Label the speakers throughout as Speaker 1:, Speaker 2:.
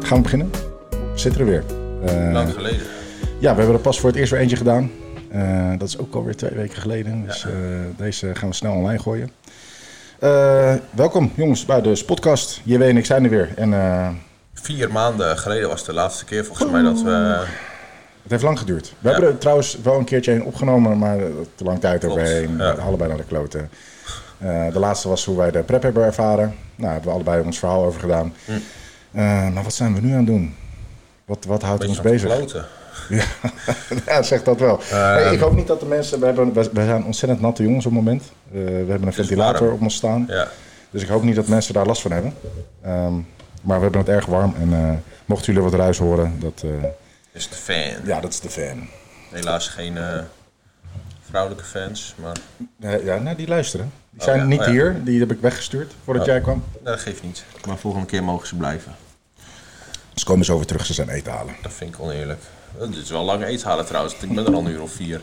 Speaker 1: gaan we beginnen. Zitten er weer. Eh,
Speaker 2: Lang geleden.
Speaker 1: ja, we hebben er pas voor het eerst weer eentje gedaan. Eh, dat is ook alweer twee weken geleden. Dus eh, deze gaan we snel online gooien. Eh, welkom jongens bij de podcast. JW en ik zijn er weer. En eh,
Speaker 2: Vier maanden geleden was de laatste keer volgens mij dat we...
Speaker 1: het heeft lang geduurd. We hebben er trouwens wel een keertje een opgenomen, maar eh, te lang tijd
Speaker 2: Klopt,
Speaker 1: overheen.
Speaker 2: ja.
Speaker 1: Allebei naar de kloten. Eh, de laatste was hoe wij de prep hebben ervaren. Nou, daar hebben we allebei ons verhaal over gedaan.
Speaker 2: Hm.
Speaker 1: Eh, maar wat zijn we nu aan het doen? Wat, wat houdt ons
Speaker 2: Beetje aan het
Speaker 1: bezig?
Speaker 2: kloten.
Speaker 1: Ja, ja zeg dat wel. Nee, ik hoop niet dat de mensen. We, hebben, we, we zijn ontzettend natte jongens op het moment. Eh, we hebben een ventilator
Speaker 2: warm.
Speaker 1: op ons staan.
Speaker 2: Ja.
Speaker 1: Dus ik hoop niet dat mensen daar last van hebben. Ehm, maar we hebben het erg warm. En eh, mochten jullie wat ruis horen, dat, eh,
Speaker 2: Is de fan.
Speaker 1: ja, dat is de fan.
Speaker 2: Helaas geen eh, vrouwelijke fans, maar
Speaker 1: Eh, ja, nee, die luisteren. Die
Speaker 2: Oh,
Speaker 1: zijn
Speaker 2: ja.
Speaker 1: niet
Speaker 2: Oh, ja.
Speaker 1: hier. Die heb ik weggestuurd voordat jij kwam.
Speaker 2: dat geeft niet. Maar volgende keer mogen ze blijven.
Speaker 1: Ze komen zo weer terug. Ze zijn eten halen.
Speaker 2: Dat vind ik oneerlijk. Eh, Dit is wel lang eten halen trouwens. Ik ben er al een uur of vier.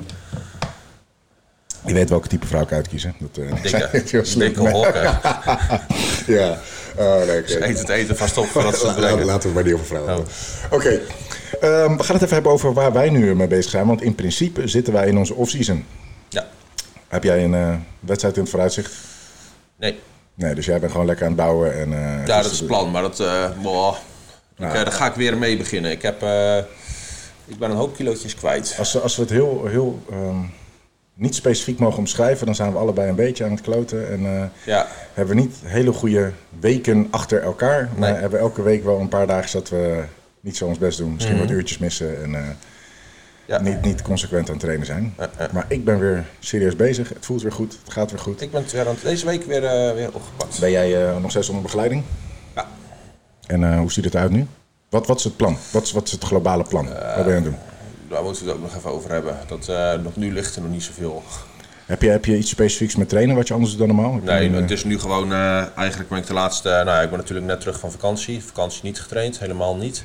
Speaker 1: Je weet welke type vrouw ik uitkiezen. Dat eh
Speaker 2: Dikke,
Speaker 1: heel slim.
Speaker 2: dikke hokken.
Speaker 1: Ja. Oh, nee, oké.
Speaker 2: Eet het eten vast op voordat ze het
Speaker 1: La- la-
Speaker 2: brengen. Oh.
Speaker 1: laten we het maar niet over vrouwen hebben. Oké, Ehm, we gaan het even hebben over waar wij nu mee bezig zijn. Want in principe zitten wij in onze off-season.
Speaker 2: Ja.
Speaker 1: Heb jij een eh, wedstrijd in het vooruitzicht?
Speaker 2: Nee.
Speaker 1: Nee, dus jij bent gewoon lekker aan het bouwen. En, eh,
Speaker 2: Ja,
Speaker 1: dus-
Speaker 2: dat is het plan, maar dat, eh boah. Ik, eh, daar ga ik weer mee beginnen. Ik, heb, eh, ik ben een hoop kilootjes kwijt.
Speaker 1: Als, als we het heel, heel ehm, niet specifiek mogen omschrijven, dan zijn we allebei een beetje aan het kloten. En eh,
Speaker 2: Ja,
Speaker 1: hebben we niet hele goede weken achter elkaar. Maar
Speaker 2: Nee.
Speaker 1: hebben we elke week wel een paar dagen dat we niet zo ons best doen. Misschien
Speaker 2: Mhm.
Speaker 1: wat uurtjes missen en eh,
Speaker 2: ja.
Speaker 1: niet, niet consequent aan het trainen zijn.
Speaker 2: Eh, eh.
Speaker 1: Maar ik ben weer serieus bezig. Het voelt weer goed. Het gaat weer goed.
Speaker 2: Ik ben het weer aan het- deze week weer, eh, weer opgepakt.
Speaker 1: Ben jij eh, nog steeds onder begeleiding?
Speaker 2: Ja.
Speaker 1: En eh, hoe ziet het uit nu? Wat, wat is het plan? Wat is, wat is het globale plan?
Speaker 2: Eh.
Speaker 1: Wat ben je aan het doen?
Speaker 2: Daar moeten we het ook nog even over hebben. Dat, eh, nog nu ligt er nog niet zoveel.
Speaker 1: Heb je, heb je iets specifieks met trainen wat je anders doet dan normaal? Heb je
Speaker 2: Nee,
Speaker 1: een, eh,
Speaker 2: het is nu gewoon... eh, eigenlijk ben ik de laatste... nou ja, ik ben natuurlijk net terug van vakantie. Vakantie niet getraind, helemaal niet.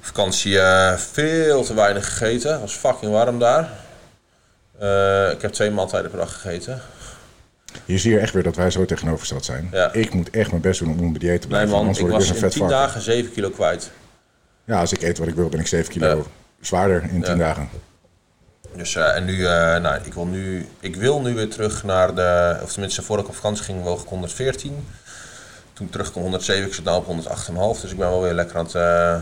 Speaker 2: Vakantie eh, veel te weinig gegeten. Het was fucking warm daar. Eh, ik heb twee maaltijden per dag gegeten.
Speaker 1: eh, Je ziet hier echt weer dat wij zo tegenovergesteld zijn.
Speaker 2: Ja.
Speaker 1: Ik moet echt mijn best doen om op mijn dieet te
Speaker 2: Nee
Speaker 1: blijven.
Speaker 2: man,
Speaker 1: anders
Speaker 2: ik
Speaker 1: word ik
Speaker 2: was
Speaker 1: dus een
Speaker 2: in
Speaker 1: vet
Speaker 2: 10
Speaker 1: varken.
Speaker 2: dagen 7 kilo kwijt.
Speaker 1: Ja, als ik eet wat ik wil, ben ik 7 kilo
Speaker 2: Ja.
Speaker 1: zwaarder in 10
Speaker 2: Ja.
Speaker 1: dagen.
Speaker 2: Dus eh, en nu, eh, nou, ik wil nu, ik wil nu weer terug naar de, of tenminste voor ik op vakantie ging woog ik 114. Toen terugkwam 107, ik zit nu op 108,5. Dus ik ben wel weer lekker aan het, eh,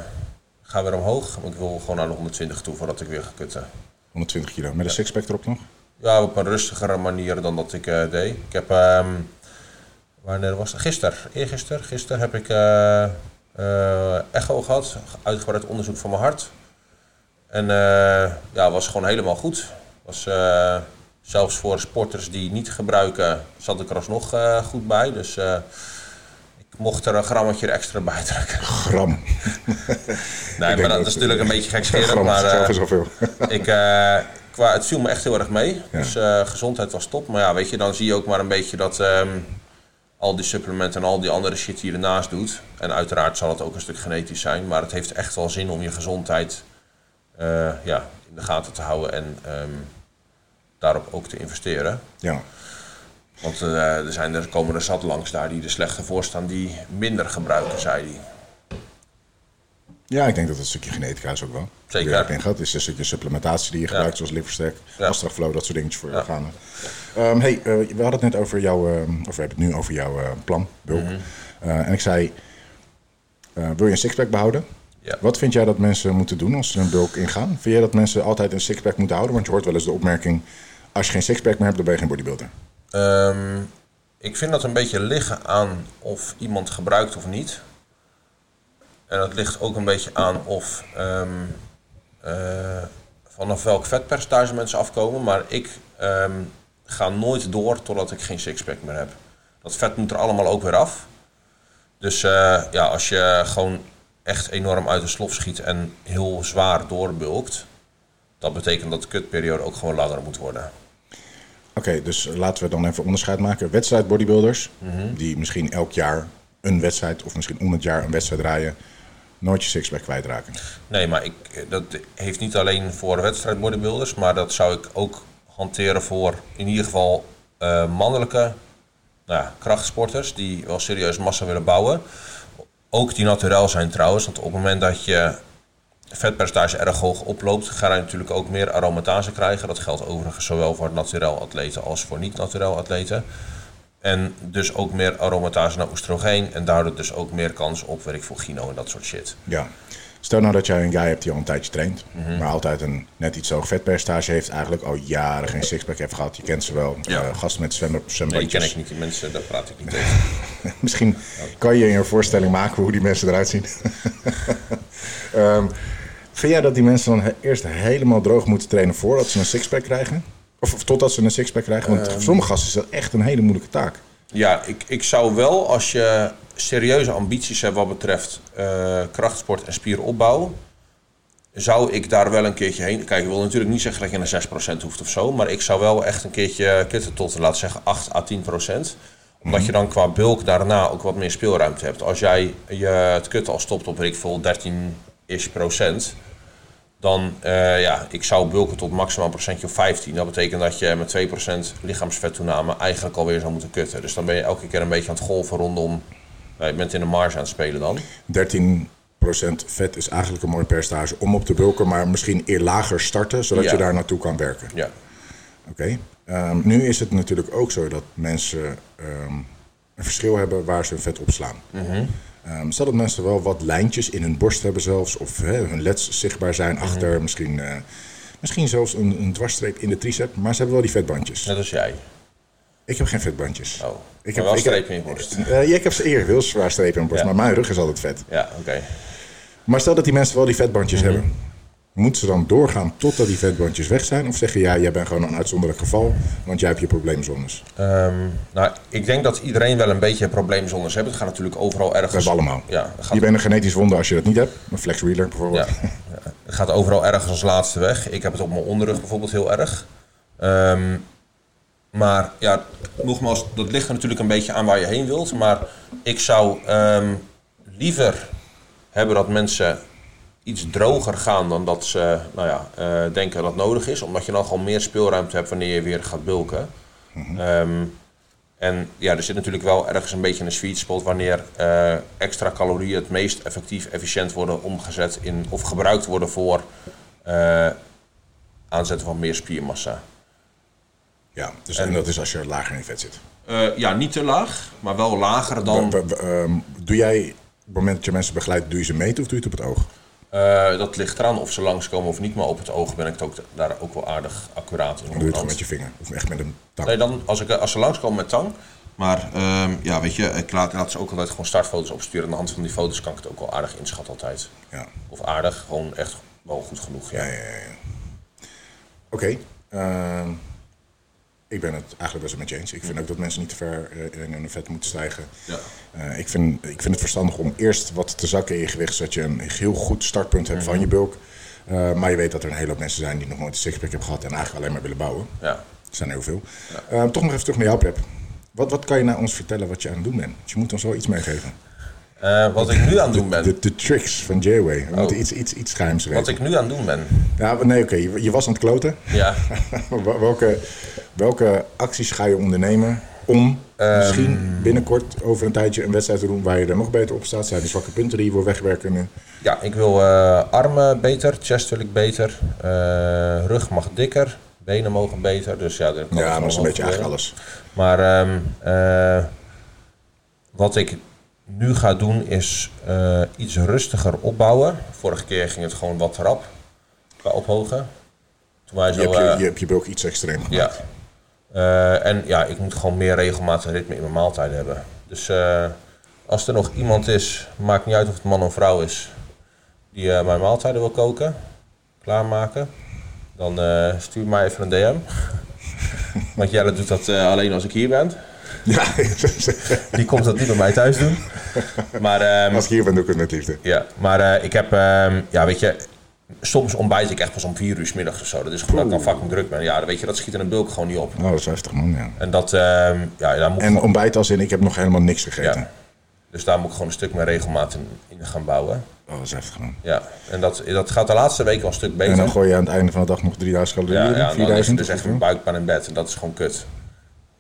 Speaker 2: ga weer omhoog. Maar ik wil gewoon naar de 120 toe voordat ik weer ga kutten.
Speaker 1: 120 kilo. Met een sixpack erop nog?
Speaker 2: Ja, op een rustigere manier dan dat ik eh, deed. Ik heb, ehm, wanneer was het? Gisteren, eergisteren, gisteren heb ik eh, eh, echo gehad, uitgebreid onderzoek van mijn hart. En eh, ja, was gewoon helemaal goed. Was, eh, zelfs voor sporters die niet gebruiken, zat ik er alsnog eh, goed bij. Dus eh, ik mocht er een grammetje extra bij drukken.
Speaker 1: Gram.
Speaker 2: Nee, maar
Speaker 1: denk
Speaker 2: dat,
Speaker 1: dat-
Speaker 2: is natuurlijk een beetje gekscherend.
Speaker 1: Gram
Speaker 2: Maar
Speaker 1: is
Speaker 2: eh,
Speaker 1: zelf is al veel.
Speaker 2: ik, eh, qua, het viel me echt heel erg mee. Dus eh, gezondheid was top. Maar ja, weet je, dan zie je ook maar een beetje dat ehm, al die supplementen en al die andere shit die je ernaast doet. En uiteraard zal het ook een stuk genetisch zijn. Maar het heeft echt wel zin om je gezondheid eh, ja, in de gaten te houden en ehm, daarop ook te investeren.
Speaker 1: Ja.
Speaker 2: Want eh, er, zijn, er komen er zat langs daar die er slechter voor staan, die minder gebruiken, zei hij.
Speaker 1: ja, ik denk dat dat een stukje genetica is ook wel.
Speaker 2: Zeker.
Speaker 1: Die je erin gaat. Het is een stukje supplementatie die je gebruikt, zoals Liverstack,
Speaker 2: Ja.
Speaker 1: Astraflow, dat soort dingetjes voor je organen. Ehm, hey, eh, we hadden het net over jouw, ehm, of we hebben het nu over jouw eh, plan, bulk.
Speaker 2: Mhm.
Speaker 1: Eh, en ik zei, eh, wil je een sixpack behouden?
Speaker 2: Ja.
Speaker 1: Wat vind jij dat mensen moeten doen als ze een bulk ingaan? Vind jij dat mensen altijd een sixpack moeten houden? Want je hoort wel eens de opmerking, als je geen sixpack meer hebt, dan ben je geen bodybuilder.
Speaker 2: Ehm, ik vind dat een beetje liggen aan of iemand gebruikt of niet. En dat ligt ook een beetje aan of ehm, eh, vanaf welk vetpercentage mensen afkomen. Maar ik ehm, ga nooit door totdat ik geen sixpack meer heb. Dat vet moet er allemaal ook weer af. Dus eh, ja, als je gewoon echt enorm uit de slof schiet en heel zwaar doorbulkt, dat betekent dat de kutperiode ook gewoon langer moet worden.
Speaker 1: Oké, dus laten we dan even onderscheid maken. Wedstrijd bodybuilders,
Speaker 2: Mhm.
Speaker 1: die misschien elk jaar een wedstrijd of misschien om het jaar een wedstrijd draaien, nooit je sixpack kwijtraken.
Speaker 2: Nee, maar ik, eh, dat heeft niet alleen voor wedstrijd bodybuilders, maar dat zou ik ook hanteren voor in ieder geval eh, mannelijke nou ja, krachtsporters die wel serieus massa willen bouwen. ook die naturel zijn trouwens. Want op het moment dat je vetpercentage erg hoog oploopt, ga je natuurlijk ook meer aromatase krijgen. Dat geldt overigens zowel voor naturel atleten als voor niet-naturel atleten. En dus ook meer aromatase naar oestrogeen. En daardoor dus ook meer kans op werk voor gyno en dat soort shit.
Speaker 1: Ja. Stel nou dat jij een guy hebt die al een tijdje traint,
Speaker 2: Mhm.
Speaker 1: maar altijd een net iets hoog vetpercentage heeft, eigenlijk al jaren geen sixpack heeft gehad. Je kent ze wel,
Speaker 2: Ja.
Speaker 1: eh, gasten met zwemmen,
Speaker 2: Nee, die
Speaker 1: zwembandjes.
Speaker 2: ken ik niet. Die mensen, daar praat ik niet tegen.
Speaker 1: Misschien kan je je een voorstelling maken hoe die mensen eruit zien. Ehm, vind jij dat die mensen dan he- eerst helemaal droog moeten trainen voordat ze een sixpack krijgen? Of, of totdat ze een sixpack krijgen? Want voor sommige gasten is dat echt een hele moeilijke taak.
Speaker 2: Ja, ik, ik zou wel als je serieuze ambities hebt wat betreft eh, krachtsport en spieropbouw, zou ik daar wel een keertje heen. Kijk, ik wil natuurlijk niet zeggen dat je naar 6% hoeft of zo, maar ik zou wel echt een keertje kitten tot, laten zeggen, 8 à 10%. Omdat je dan qua bulk daarna ook wat meer speelruimte hebt. Als jij je, het kutten al stopt op, weet ik veel, 13-ish procent, dan eh, ja, ik zou bulken tot maximaal een procentje of 15. Dat betekent dat je met 2% lichaamsvettoename eigenlijk alweer zou moeten kutten. Dus dan ben je elke keer een beetje aan het golven rondom. Nou, je bent in de marge aan het spelen dan.
Speaker 1: 13% vet is eigenlijk een mooi percentage om op te bulken, maar misschien eer lager starten, zodat
Speaker 2: Ja.
Speaker 1: je daar naartoe kan werken.
Speaker 2: Ja.
Speaker 1: Oké. Ehm, nu is het natuurlijk ook zo dat mensen ehm, een verschil hebben waar ze hun vet op slaan.
Speaker 2: Mhm.
Speaker 1: Ehm, stel dat mensen wel wat lijntjes in hun borst hebben zelfs, of hè, hun leds zichtbaar
Speaker 2: Mhm.
Speaker 1: zijn achter, misschien, eh, misschien zelfs een, een dwarsstreep in de tricep, maar ze hebben wel die vetbandjes.
Speaker 2: Net als jij.
Speaker 1: Ik heb geen vetbandjes.
Speaker 2: Oh.
Speaker 1: Ik
Speaker 2: maar
Speaker 1: heb-
Speaker 2: wel
Speaker 1: ik heb-
Speaker 2: strepen in je borst.
Speaker 1: Eh, ja, ik heb ze eer, heel zwaar strepen in mijn borst,
Speaker 2: Ja.
Speaker 1: maar mijn rug is altijd vet.
Speaker 2: Ja, oké.
Speaker 1: Maar stel dat die mensen wel die vetbandjes
Speaker 2: Mhm.
Speaker 1: hebben. Moeten ze dan doorgaan totdat die vetbandjes weg zijn? Of zeggen ja, jij bent gewoon een uitzonderlijk geval, want jij hebt je probleemzones? We
Speaker 2: Ehm, nou, ik denk dat iedereen wel een beetje probleemzones heeft. Het gaat natuurlijk overal ergens.
Speaker 1: hebben allemaal.
Speaker 2: Ja, het gaat,
Speaker 1: Je bent een genetisch wonder als je dat niet hebt. Een flex wheeler
Speaker 2: ja,
Speaker 1: bijvoorbeeld.
Speaker 2: ja. het gaat overal ergens als laatste weg. Ik heb het op mijn onderrug bijvoorbeeld heel erg. Ehm, maar ja, nogmaals, dat ligt er natuurlijk een beetje aan waar je heen wilt. Maar ik zou ehm, liever hebben dat mensen iets droger gaan dan dat ze nou ja, eh, denken dat nodig is. Omdat je dan gewoon meer speelruimte hebt wanneer je weer gaat bulken. Ehm, en ja, er zit natuurlijk wel ergens een beetje een sweet spot wanneer eh, extra calorieën het meest effectief, efficiënt worden omgezet in of gebruikt worden voor eh, aanzetten van meer spiermassa.
Speaker 1: Ja, dus, en dat is als je lager in vet zit.
Speaker 2: Eh, ja, niet te laag, maar wel lager dan.
Speaker 1: We- we- ehm, doe jij, op het moment dat je mensen begeleidt, doe je ze meten of doe je het op het oog?
Speaker 2: eh, dat ligt eraan of ze langskomen of niet, maar op het oog ben ik het ook, daar ook wel aardig accuraat in.
Speaker 1: Dan doe je het gewoon met je vinger. Of echt met een tang.
Speaker 2: Nee, dan als, ik, als ze langskomen met tang. Maar ehm, ja, weet je, ik laat, laat ze ook altijd gewoon startfoto's opsturen. Aan de hand van die foto's kan ik het ook wel aardig inschatten altijd.
Speaker 1: Ja.
Speaker 2: Of aardig, gewoon echt wel goed genoeg. Ja.
Speaker 1: Ja, ja, ja, ja. Oké. ehm, ik ben het eigenlijk best wel met je eens. Ik vind ook dat mensen niet te ver eh, in hun vet moeten stijgen.
Speaker 2: Ja.
Speaker 1: Eh, ik, vind, ik vind het verstandig om eerst wat te zakken in je gewicht, zodat je een heel goed startpunt hebt
Speaker 2: Mhm.
Speaker 1: van je bulk. Eh, maar je weet dat er een hele hoop mensen zijn die nog nooit een sixpack hebben gehad en eigenlijk alleen maar willen bouwen.
Speaker 2: Ja.
Speaker 1: Er zijn heel veel. Eh, toch nog even terug naar jouw prep. Wat, wat kan je nou ons vertellen wat je aan het doen bent? Want je moet ons wel iets meegeven.
Speaker 2: Eh, wat ik nu aan het doen ben.
Speaker 1: De, de tricks van J-Way. We moeten
Speaker 2: Oh.
Speaker 1: iets, iets, iets geheims
Speaker 2: Wat
Speaker 1: weten.
Speaker 2: ik nu aan het doen ben.
Speaker 1: Ja, nee, oké. je, je was aan het kloten.
Speaker 2: Ja.
Speaker 1: Wel- welke, welke acties ga je ondernemen om
Speaker 2: Ehm,
Speaker 1: misschien binnenkort over een tijdje een wedstrijd te doen waar je er nog beter op staat? Zijn de zwakke punten die je wil wegwerken nu?
Speaker 2: Ja, ik wil eh, armen beter, chest wil ik beter, eh, rug mag dikker, benen mogen beter. Dus ja, eh, dat kan
Speaker 1: Ja, maar dat
Speaker 2: allemaal
Speaker 1: is een beetje
Speaker 2: gebeuren.
Speaker 1: eigenlijk alles.
Speaker 2: Maar ehm, eh, wat ik nu ga doen is eh, iets rustiger opbouwen. Vorige keer ging het gewoon wat rap qua ophogen. Toen wij
Speaker 1: Je
Speaker 2: zo,
Speaker 1: hebt je,
Speaker 2: eh,
Speaker 1: je, hebt je bulk iets extreem gemaakt.
Speaker 2: ja. Eh, en ja, ik moet gewoon meer regelmaat en ritme in mijn maaltijd hebben. Dus eh, als er nog iemand is, maakt niet uit of het man of vrouw is, die eh, mijn maaltijden wil koken, klaarmaken, dan eh, stuur mij even een DM. Want Jelle doet dat eh, alleen als ik hier ben.
Speaker 1: Ja,
Speaker 2: Die komt dat niet bij mij thuis doen. Maar, ehm,
Speaker 1: als ik hier ben, doe ik het met liefde.
Speaker 2: ja, maar eh, ik heb, ehm, ja, weet je, soms ontbijt ik echt pas om vier uur 's middags of zo. Dat is gewoon dat ik dan fucking druk ben. Ja, weet je, dat schiet in een bulk gewoon niet op.
Speaker 1: Oh, dat is heftig, man. Ja.
Speaker 2: En dat, ehm, ja, daar moet
Speaker 1: En ontbijt als in, ik heb nog helemaal niks gegeten.
Speaker 2: ja. Dus daar moet ik gewoon een stuk meer regelmaat in, in gaan bouwen.
Speaker 1: Oh, dat is heftig, man.
Speaker 2: Ja, en dat, dat gaat de laatste week al een stuk beter.
Speaker 1: En dan gooi je aan het einde van de dag nog 3000 calorieën,
Speaker 2: ja,
Speaker 1: in,
Speaker 2: ja, en dan is
Speaker 1: 4000.
Speaker 2: het dus echt
Speaker 1: of
Speaker 2: een
Speaker 1: zo.
Speaker 2: buikpijn in bed. En dat is gewoon kut.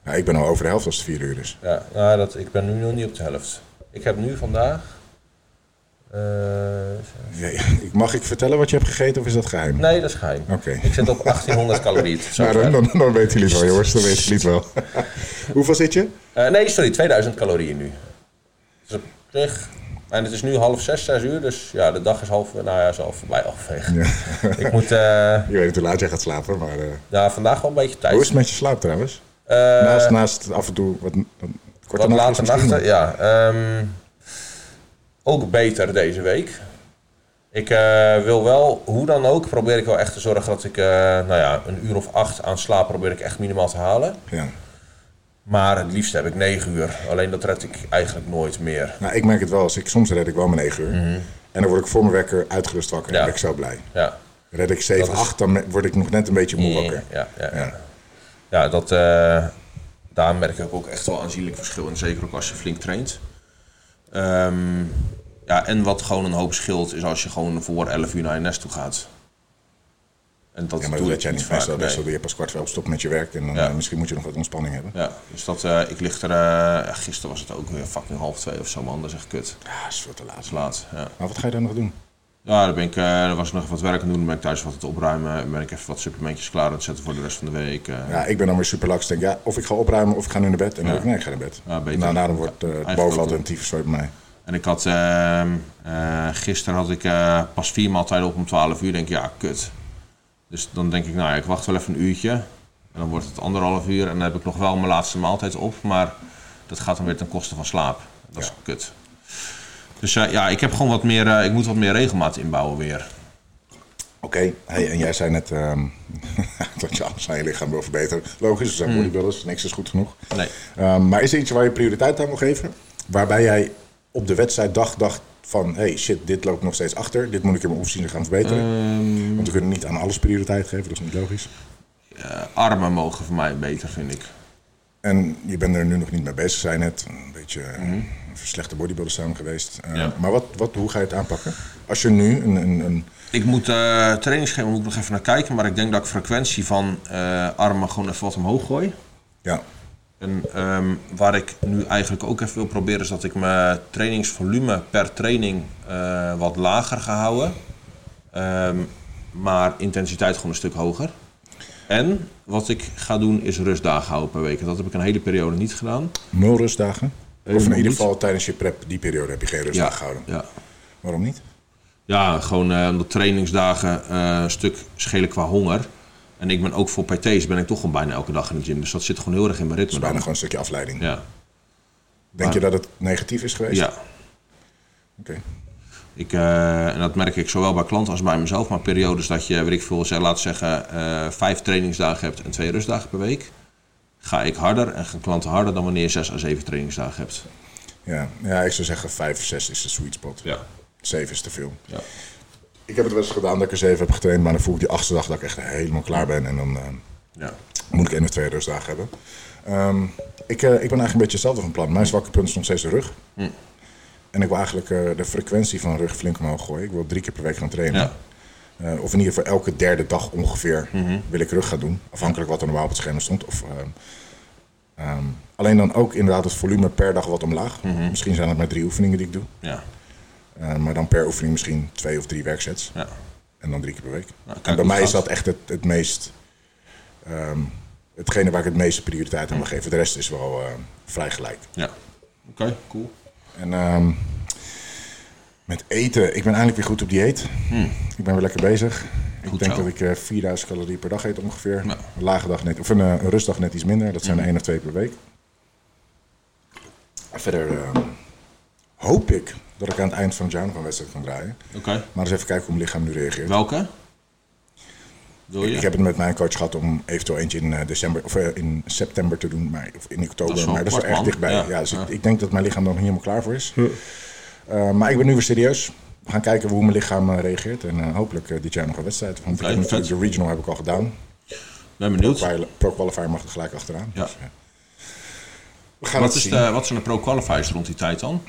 Speaker 1: ja, ik ben al over de helft als het 4 uur is.
Speaker 2: Ja, nou, dat, ik ben nu nog niet op de helft. Ik heb nu vandaag Eh,
Speaker 1: Ik- Mag ik vertellen wat je hebt gegeten of is dat geheim?
Speaker 2: nee, dat is geheim.
Speaker 1: Oké.
Speaker 2: Ik zit op 1800 calorieën. Zo
Speaker 1: Nou, dan, dan, dan weten jullie het wel, jongens. Dan weten jullie het wel. Hoeveel zit je?
Speaker 2: Eh, nee, sorry, 2000 calorieën nu. Dus op zich. En het is nu half zes, zes uur, dus ja, de dag is half, nou ja, is al voorbij halverwege. Ik moet eh
Speaker 1: Je weet niet hoe laat jij gaat slapen, maar... eh,
Speaker 2: ja, vandaag wel een beetje tijd.
Speaker 1: hoe is het met je slaap trouwens?
Speaker 2: Eh,
Speaker 1: naast, naast af en toe wat, wat korte nachten
Speaker 2: wat late
Speaker 1: misschien,
Speaker 2: nachten, ja. ehm, ook beter deze week. Ik eh, wil wel, hoe dan ook, probeer ik wel echt te zorgen dat ik, eh, nou ja, een uur of acht aan slaap probeer ik echt minimaal te halen.
Speaker 1: maar- Ja.
Speaker 2: Maar het liefst heb ik negen uur. Alleen dat red ik eigenlijk nooit meer.
Speaker 1: Nou, ik merk het wel. Als ik, soms red ik wel mijn 9 uur. En dan word ik voor mijn wekker uitgerust wakker. En
Speaker 2: Mhm. Ja.
Speaker 1: ben ik zo blij.
Speaker 2: Ja.
Speaker 1: Red ik 7,
Speaker 2: Dat is-
Speaker 1: 8, dan me- word ik nog net een beetje moe wakker.
Speaker 2: Ja, ja, ja.
Speaker 1: Ja.
Speaker 2: ja dat, eh, daar merk ik ook echt wel aanzienlijk verschil in. Zeker ook als je flink traint. Ehm, ja, en wat gewoon een hoop scheelt, is als je gewoon voor 11 uur naar je nest toe gaat. En dat
Speaker 1: Ja, maar
Speaker 2: doe
Speaker 1: dat red
Speaker 2: ik
Speaker 1: jij
Speaker 2: niet
Speaker 1: niet vast.
Speaker 2: vaak.
Speaker 1: Dat is
Speaker 2: nee.
Speaker 1: dat je pas kwart voor elf stopt met je werk. En dan,
Speaker 2: Ja.
Speaker 1: eh, misschien moet je nog wat ontspanning hebben.
Speaker 2: Ja, dus dat, eh, ik lig er, eh, gisteren was het ook weer fucking half twee of zo, man. Dat is echt kut. Dat
Speaker 1: Ja, is voor te laat.
Speaker 2: is laat, ja.
Speaker 1: Maar wat ga je dan nog doen?
Speaker 2: Ja, daar ben ik, eh, daar was ik nog wat werk aan doen. Dan ben ik thuis wat aan het opruimen. Dan ben ik even wat supplementjes klaar aan het zetten voor de rest van de week. eh.
Speaker 1: Ja, ik ben dan weer super laks. Denk, ja, of ik ga opruimen of ik ga nu naar bed. En dan denk ik, nee, ik ga naar bed.
Speaker 2: Ja, beter.
Speaker 1: nou, daarom wordt eh, het
Speaker 2: Eigenlijk
Speaker 1: boven
Speaker 2: ook,
Speaker 1: altijd een tyfuszooi bij mij.
Speaker 2: En ik had, ehm, eh, gisteren had ik eh, pas vier maaltijden op om 12 uur. Denk ik, ja, kut. Dus dan denk ik, nou ja, ik wacht wel even een uurtje. En dan wordt het anderhalf uur en dan heb ik nog wel mijn laatste maaltijd op. Maar dat gaat dan weer ten koste van slaap. Dat is kut. Dus eh, ja, ik heb gewoon wat meer, eh, ik moet wat meer regelmaat inbouwen weer.
Speaker 1: Oké, hey, en jij zei net ehm, dat je alles aan je lichaam wil verbeteren. Logisch, we zijn bodybuilders, niks is goed genoeg.
Speaker 2: Hmm. Nee.
Speaker 1: Ehm, maar is er iets waar je prioriteit aan wil geven? Waarbij jij op de wedstrijddag dacht van... hey, shit, dit loopt nog steeds achter. Dit moet ik in mijn opziende gaan verbeteren.
Speaker 2: Ehm.
Speaker 1: Want we kunnen niet aan alles prioriteit geven, dat is niet logisch.
Speaker 2: Eh, armen mogen voor mij beter, vind ik.
Speaker 1: En je bent er nu nog niet mee bezig, zijn net. Een beetje eh, een slechte bodybuilder samen geweest. Eh,
Speaker 2: Mhm. Ja.
Speaker 1: Maar wat, wat, hoe ga je het aanpakken? Als je nu een... een, een
Speaker 2: Ik moet eh trainingsschema moet ik nog even naar kijken. Maar ik denk dat ik frequentie van eh, armen gewoon even wat omhoog gooi.
Speaker 1: ja,
Speaker 2: En ehm, waar ik nu eigenlijk ook even wil proberen, is dat ik mijn trainingsvolume per training eh, wat lager ga houden. Ehm, maar intensiteit gewoon een stuk hoger. En wat ik ga doen is rustdagen houden per week. En Dat heb ik een hele periode niet gedaan.
Speaker 1: nul rustdagen.
Speaker 2: Helemaal
Speaker 1: of in ieder
Speaker 2: niet.
Speaker 1: geval tijdens je prep, die periode heb je geen rustdag gehouden.
Speaker 2: ja.
Speaker 1: Waarom niet?
Speaker 2: ja gewoon eh, omdat trainingsdagen eh, een stuk schelen qua honger. En ik ben ook voor PT's ben ik toch gewoon bijna elke dag in de gym. Dus dat zit gewoon heel erg in mijn ritme.
Speaker 1: Bijna
Speaker 2: Dan.
Speaker 1: gewoon een stukje afleiding.
Speaker 2: Ja.
Speaker 1: Denk je dat het negatief is geweest?
Speaker 2: ja.
Speaker 1: Oké.
Speaker 2: Ik, eh, en dat merk ik zowel bij klanten als bij mezelf. Maar periodes dat je, weet ik veel, zeg, laat zeggen, eh, vijf trainingsdagen hebt en twee rustdagen per week. Ga ik harder en gaan klanten harder dan wanneer je zes à zeven trainingsdagen hebt.
Speaker 1: Ja. ja, ik zou zeggen 5, 6 is de sweet spot.
Speaker 2: Ja.
Speaker 1: 7 is te veel.
Speaker 2: Ja.
Speaker 1: Ik heb het wel eens gedaan dat ik er 7 heb getraind, maar dan voel ik die achtste dag dat ik echt helemaal klaar ben. En dan eh,
Speaker 2: ja.
Speaker 1: moet ik één of twee rustdagen hebben. Ehm, ik, eh, ik ben eigenlijk een beetje hetzelfde van plan. Mijn zwakke punt is nog steeds de rug.
Speaker 2: Hm.
Speaker 1: En ik wil eigenlijk eh, de frequentie van rug flink omhoog gooien. Ik wil drie keer per week gaan trainen.
Speaker 2: Ja.
Speaker 1: Eh, of in ieder geval elke derde dag ongeveer
Speaker 2: Mhm.
Speaker 1: wil ik rug gaan doen. Afhankelijk wat er normaal op het scherm stond. Of, ehm, ehm, alleen dan ook inderdaad het volume per dag wat omlaag.
Speaker 2: Mhm.
Speaker 1: Misschien zijn het maar drie oefeningen die ik doe.
Speaker 2: ja.
Speaker 1: Eh, maar dan per oefening misschien twee of drie werksets.
Speaker 2: ja.
Speaker 1: En dan drie keer per week.
Speaker 2: Nou, kijk
Speaker 1: en bij
Speaker 2: hoe
Speaker 1: mij
Speaker 2: het
Speaker 1: is
Speaker 2: gaat.
Speaker 1: dat echt het, het meest... ehm, hetgene waar ik het meeste prioriteit aan wil geven. De rest is wel eh, vrij gelijk.
Speaker 2: ja. Oké, cool.
Speaker 1: En ehm, met eten, ik ben eigenlijk weer goed op dieet. Ik ben weer lekker bezig. ik
Speaker 2: Hmm. Goed
Speaker 1: denk
Speaker 2: zo.
Speaker 1: dat ik eh, 4000 calorieën per dag eet ongeveer.
Speaker 2: Nou.
Speaker 1: Een lage dag net, of een, eh, een rustdag net iets minder. Dat zijn
Speaker 2: Hmm.
Speaker 1: er één of twee per week. En Verder ehm, hoop ik dat ik aan het eind van het jaar nog een wedstrijd kan draaien.
Speaker 2: Oké.
Speaker 1: Maar eens even kijken hoe mijn lichaam nu reageert.
Speaker 2: Welke? Wil je?
Speaker 1: Ik heb het met mijn coach gehad om eventueel eentje in, eh, december, of, eh, in september te doen, maar, of in oktober.
Speaker 2: Dat is wel
Speaker 1: maar dat is wel
Speaker 2: kort,
Speaker 1: erg
Speaker 2: man.
Speaker 1: dichtbij. Ja.
Speaker 2: Ja.
Speaker 1: dus Ik,
Speaker 2: Ja.
Speaker 1: ik denk dat mijn lichaam er nog niet helemaal klaar voor is. Eh, maar ik ben nu weer serieus. We gaan kijken hoe mijn lichaam eh, reageert. En eh, hopelijk eh, dit jaar nog een wedstrijd. Want ik
Speaker 2: Oké,
Speaker 1: heb natuurlijk
Speaker 2: vet.
Speaker 1: de regional heb ik al gedaan.
Speaker 2: ben benieuwd.
Speaker 1: Quali- Pro-qualifier mag er gelijk achteraan.
Speaker 2: Ja.
Speaker 1: eh, we gaan
Speaker 2: Wat,
Speaker 1: het
Speaker 2: is
Speaker 1: zien.
Speaker 2: de, wat zijn de pro-qualifiers rond die tijd dan?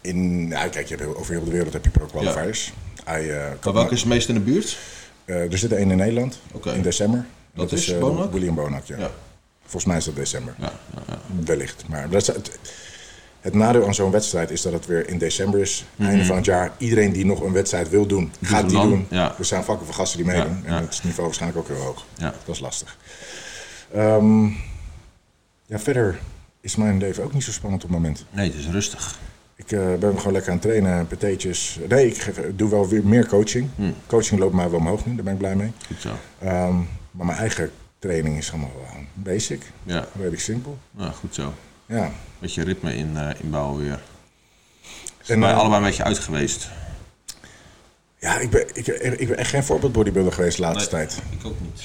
Speaker 1: In, nou, kijk, je hebt heel- over heel de wereld heb je pro-qualifiers. Hij, eh,
Speaker 2: Maar
Speaker 1: kan-
Speaker 2: welke is het meest in de buurt?
Speaker 1: eh, er zit er één in Nederland
Speaker 2: Oké.
Speaker 1: in december.
Speaker 2: Dat is
Speaker 1: eh,
Speaker 2: Bonak?
Speaker 1: William Bonak, ja.
Speaker 2: Ja.
Speaker 1: Volgens mij is Eh, dat december.
Speaker 2: Ja, ja, ja.
Speaker 1: Wellicht. Maar dat is, het- Het nadeel aan zo'n wedstrijd is dat het weer in december is, einde van het jaar. Iedereen die nog een wedstrijd wil doen, gaat
Speaker 3: het
Speaker 1: die
Speaker 3: Mhm. dan,
Speaker 1: doen.
Speaker 3: ja.
Speaker 1: Er zijn vakken voor gasten die meedoen.
Speaker 3: Ja,
Speaker 1: En
Speaker 3: ja.
Speaker 1: het is niveau waarschijnlijk ook heel hoog.
Speaker 3: Ja.
Speaker 1: Dat is lastig. Ehm, ja, verder is mijn leven ook niet zo spannend op het moment.
Speaker 3: Nee, het is rustig.
Speaker 1: Ik eh, ben gewoon lekker aan het trainen, pateetjes. Nee, ik geef- doe wel weer meer coaching.
Speaker 3: Hmm.
Speaker 1: Coaching loopt mij wel omhoog nu, daar ben ik blij mee.
Speaker 3: Goed zo.
Speaker 1: Ehm, maar mijn eigen training is allemaal eh, basic.
Speaker 3: Ja,
Speaker 1: Redelijk simpel.
Speaker 3: ja
Speaker 2: Nou,
Speaker 3: goed zo.
Speaker 1: Ja.
Speaker 3: Beetje ritme in, eh, inbouwen weer.
Speaker 1: En,
Speaker 3: Wij
Speaker 1: eh,
Speaker 3: allebei een beetje uit geweest.
Speaker 1: ja, ik ben, ik, ik ben echt geen voorbeeld bodybuilder geweest de laatste
Speaker 2: Nee.
Speaker 1: tijd.
Speaker 2: Ik ook niet.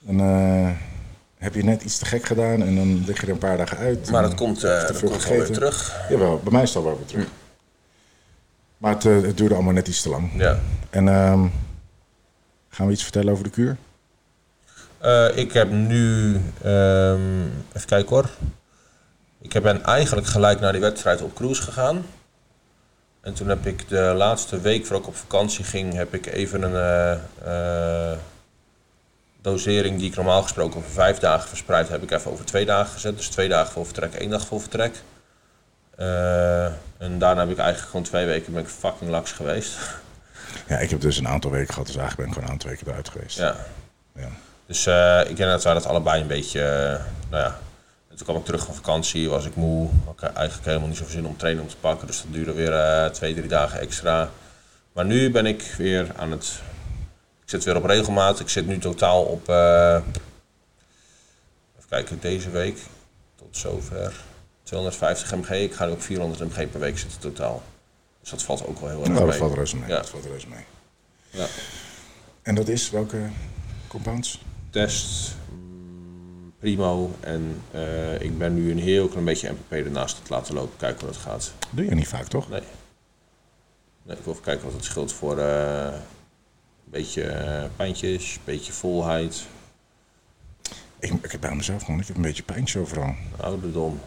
Speaker 1: Dan eh, heb je net iets te gek gedaan en dan lig je er een paar dagen uit.
Speaker 2: Maar
Speaker 1: En-
Speaker 2: dat komt, eh dat
Speaker 1: veel
Speaker 2: komt wel weer
Speaker 1: gegeten.
Speaker 2: terug. Hm.
Speaker 1: Jawel, bij mij is het al wel weer terug. Maar het, eh, het duurde allemaal net iets te lang.
Speaker 2: Ja.
Speaker 1: En ehm, gaan we iets vertellen over de kuur?
Speaker 2: Eh, ik heb nu, ehm, even kijken hoor. Ik heb- ben eigenlijk gelijk naar die wedstrijd op cruise gegaan. En toen heb ik de laatste week voordat ik op vakantie ging, heb ik even een eh, eh, dosering die ik normaal gesproken over vijf dagen verspreid, heb ik even over twee dagen gezet. Dus twee dagen voor vertrek, één dag voor vertrek. Eh, en daarna heb ik eigenlijk gewoon twee weken ben ik fucking laks geweest.
Speaker 1: Ja, ik heb dus een aantal weken gehad, dus eigenlijk ben ik gewoon een aantal weken eruit geweest.
Speaker 2: Ja.
Speaker 1: Ja.
Speaker 2: Dus eh, ik denk dat wij dat allebei een beetje, eh, nou ja. En toen kwam ik terug van vakantie, was ik moe. Had ik eigenlijk helemaal niet zoveel zin om training om te pakken. Dus dat duurde weer eh, twee, drie dagen extra. Maar nu ben ik weer aan het... Ik zit weer op regelmaat. Ik zit nu totaal op... eh, even kijken, deze week tot zover 250 mg. Ik ga nu op 400 mg per week zitten totaal. Dus dat valt ook wel heel erg
Speaker 1: Nou,
Speaker 2: mee.
Speaker 1: dat valt reuze mee.
Speaker 2: Ja.
Speaker 1: Dat valt reuze mee.
Speaker 2: Ja.
Speaker 1: En dat is welke compounds?
Speaker 2: test, mm, primo. En eh, ik ben nu een heel klein beetje MPP ernaast het laten lopen, kijken hoe dat gaat.
Speaker 1: Doe je niet vaak, toch?
Speaker 2: Nee. nee ik wil even kijken wat het scheelt voor eh, een beetje eh, pijntjes, een beetje volheid,
Speaker 1: Ik, ik heb bij mezelf gewoon, ik heb een beetje pijn overal.
Speaker 2: ouderdom.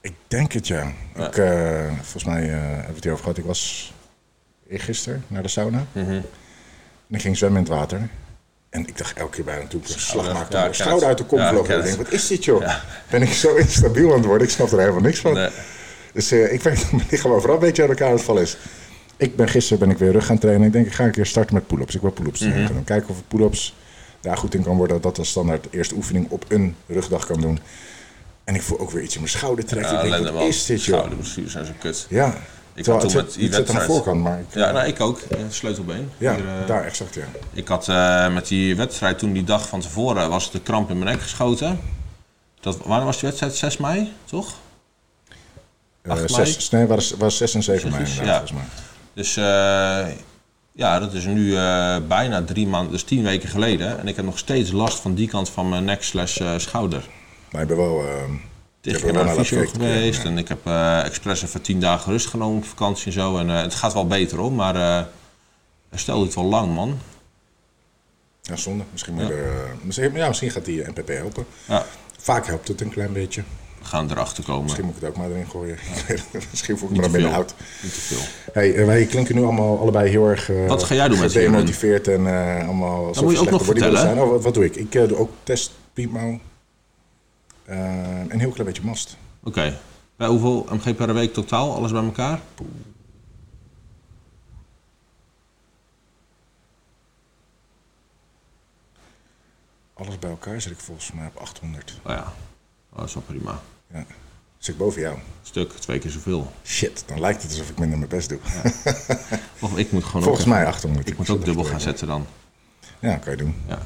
Speaker 1: Ik denk het ja.
Speaker 2: Ja.
Speaker 1: Ik, eh, volgens mij eh, hebben we het hierover gehad. Ik was eergisteren naar de sauna.
Speaker 2: Mhm.
Speaker 1: En ik ging zwemmen in het water. En ik dacht elke keer bijna toen ik een slag
Speaker 2: Ja,
Speaker 1: maakte,
Speaker 2: ja,
Speaker 1: mijn
Speaker 2: ik ken
Speaker 1: schouder
Speaker 2: het.
Speaker 1: uit de kom
Speaker 2: Ja, ik
Speaker 1: vloog.
Speaker 2: ken
Speaker 1: Ik denk,
Speaker 2: het.
Speaker 1: wat is dit joh? Ben ik zo instabiel aan het worden? Oh, Ik snap er helemaal niks van.
Speaker 2: Nee.
Speaker 1: Dus eh, ik weet dat mijn lichaam overal een beetje aan elkaar aan het vallen is. Ik ben gisteren ben ik weer rug gaan trainen. Ik denk, ik ga een keer starten met pull-ups. Ik wil pull-ups
Speaker 2: Mhm.
Speaker 1: trainen. Ik ga dan kijken of ik pull-ups daar goed in kan worden. Dat dat een standaard eerste oefening op een rugdag kan doen. En ik voel ook weer iets in mijn schouder trekken.
Speaker 2: Ja,
Speaker 1: ik denk,
Speaker 2: nou, ellende,
Speaker 1: wat
Speaker 2: man.
Speaker 1: is dit joh?
Speaker 2: Schouderblessures zijn zo kut.
Speaker 1: Ja,
Speaker 2: Ik
Speaker 1: Terwijl
Speaker 2: had
Speaker 1: het
Speaker 2: toen
Speaker 1: zit,
Speaker 2: met die
Speaker 1: het zit aan de
Speaker 2: wedstrijd-
Speaker 1: voorkant, maar ik,
Speaker 2: Ja, nou, ik ook. Eh, Sleutelbeen.
Speaker 1: ja,
Speaker 2: Hier, eh,
Speaker 1: daar exact ja.
Speaker 2: Ik had eh, met die wedstrijd toen die dag van tevoren was de kramp in mijn nek geschoten. Dat, wanneer was die wedstrijd? 6 mei, toch?
Speaker 1: Eh,
Speaker 2: acht mei?
Speaker 1: zes, nee, was, was 6 en 7 mei
Speaker 2: Precies,
Speaker 1: inderdaad,
Speaker 2: ja.
Speaker 1: volgens mij.
Speaker 2: Dus eh, ja, dat is nu eh, bijna drie maanden, dus tien weken geleden. En ik heb nog steeds last van die kant van mijn nek slash eh, schouder.
Speaker 1: Maar ik ben wel... ehm, ik
Speaker 2: Ik ben
Speaker 1: heb
Speaker 2: naar
Speaker 1: er wel
Speaker 2: de
Speaker 1: naar
Speaker 2: fysio
Speaker 1: gekeken,
Speaker 2: geweest
Speaker 1: ja.
Speaker 2: en ik heb eh expres even tien dagen rust genomen op vakantie en zo. En eh, het gaat wel beter hoor, maar eh herstel doet wel lang man.
Speaker 1: ja, zonde. Misschien, moet je er, eh, misschien, ja, misschien gaat die MPP helpen.
Speaker 2: Ja,
Speaker 1: Vaak helpt het een klein beetje.
Speaker 2: we gaan erachter komen.
Speaker 1: Misschien moet ik het ook maar erin gooien. Ik weet het niet. Misschien voel ik me
Speaker 2: Niet
Speaker 1: dan
Speaker 2: te
Speaker 1: minder
Speaker 2: veel.
Speaker 1: oud.
Speaker 2: Niet te veel.
Speaker 1: Hey, eh, wij klinken nu allemaal allebei heel erg eh,
Speaker 2: Wat ga jij doen met
Speaker 1: gedemotiveerd en eh, allemaal... alsof
Speaker 2: moet je
Speaker 1: we
Speaker 2: ook nog
Speaker 1: slechte bodybuilders
Speaker 2: vertellen.
Speaker 1: zijn. Oh, wat, wat doe ik? Ik eh, doe ook test, piepmouw. eh, en een heel klein beetje mast.
Speaker 2: Oké, bij hoeveel mg per week totaal, alles bij elkaar?
Speaker 1: Alles bij elkaar zit ik volgens mij op 800.
Speaker 2: Nou ja, Oh, dat is wel prima.
Speaker 1: Ja. Zit ik boven jou.
Speaker 2: Stuk, twee keer zoveel.
Speaker 1: Shit, dan lijkt het alsof ik minder mijn best doe.
Speaker 2: Of ik moet gewoon
Speaker 1: Volgens
Speaker 2: ook,
Speaker 1: mij 800.
Speaker 2: ik moet ook dubbel gaan zetten dan.
Speaker 1: Ja, kan je doen.
Speaker 2: Ja.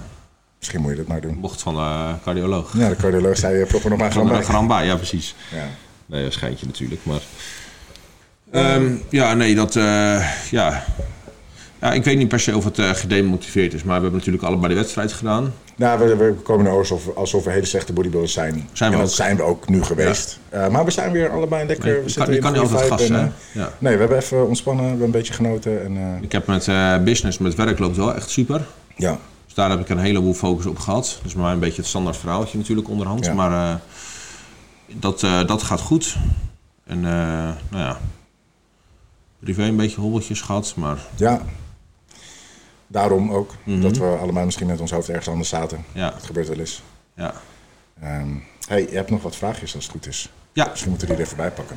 Speaker 1: Misschien moet je dat maar doen.
Speaker 2: Bocht van de cardioloog.
Speaker 1: Ja, de cardioloog zei, eh, prop er nog maar
Speaker 2: Van
Speaker 1: gewoon
Speaker 2: de
Speaker 1: bij.
Speaker 2: gram bij, ja precies.
Speaker 1: Ja.
Speaker 2: Nee, een schijntje natuurlijk, maar... Ehm, ja, nee, dat... eh, ja. ja, ik weet niet per se of het eh, gedemotiveerd is, maar we hebben natuurlijk allebei de wedstrijd gedaan.
Speaker 1: Nou, we, we komen nou alsof, alsof we hele slechte bodybuilders zijn.
Speaker 2: Zijn we
Speaker 1: en dat
Speaker 2: ook.
Speaker 1: zijn we ook nu geweest. Eh, maar we zijn weer allebei lekker.
Speaker 2: Nee,
Speaker 1: we
Speaker 2: je
Speaker 1: zitten
Speaker 2: kan- je
Speaker 1: in
Speaker 2: kan
Speaker 1: een
Speaker 2: niet
Speaker 1: goede
Speaker 2: altijd
Speaker 1: vibe en,
Speaker 2: gassen,
Speaker 1: eh,
Speaker 2: hè? Ja.
Speaker 1: Nee, we hebben even ontspannen, we hebben een beetje genoten. En, eh,
Speaker 2: Ik heb met eh, business, met werk loopt wel echt super.
Speaker 1: ja.
Speaker 2: Dus daar heb ik een heleboel focus op gehad. Dus bij mij een beetje het standaard verhaaltje natuurlijk onderhand.
Speaker 1: Ja.
Speaker 2: Maar eh, dat, eh, dat gaat goed. En eh, nou ja, privé een beetje hobbeltjes gehad, maar
Speaker 1: ja, daarom ook. Dat we allemaal misschien met ons hoofd ergens anders zaten.
Speaker 2: Mhm. ja,
Speaker 1: Dat gebeurt wel eens.
Speaker 2: ja.
Speaker 1: Ehm, hey, je hebt nog wat vraagjes als het goed is.
Speaker 3: Ja,
Speaker 1: Dus we moeten die er even bij pakken.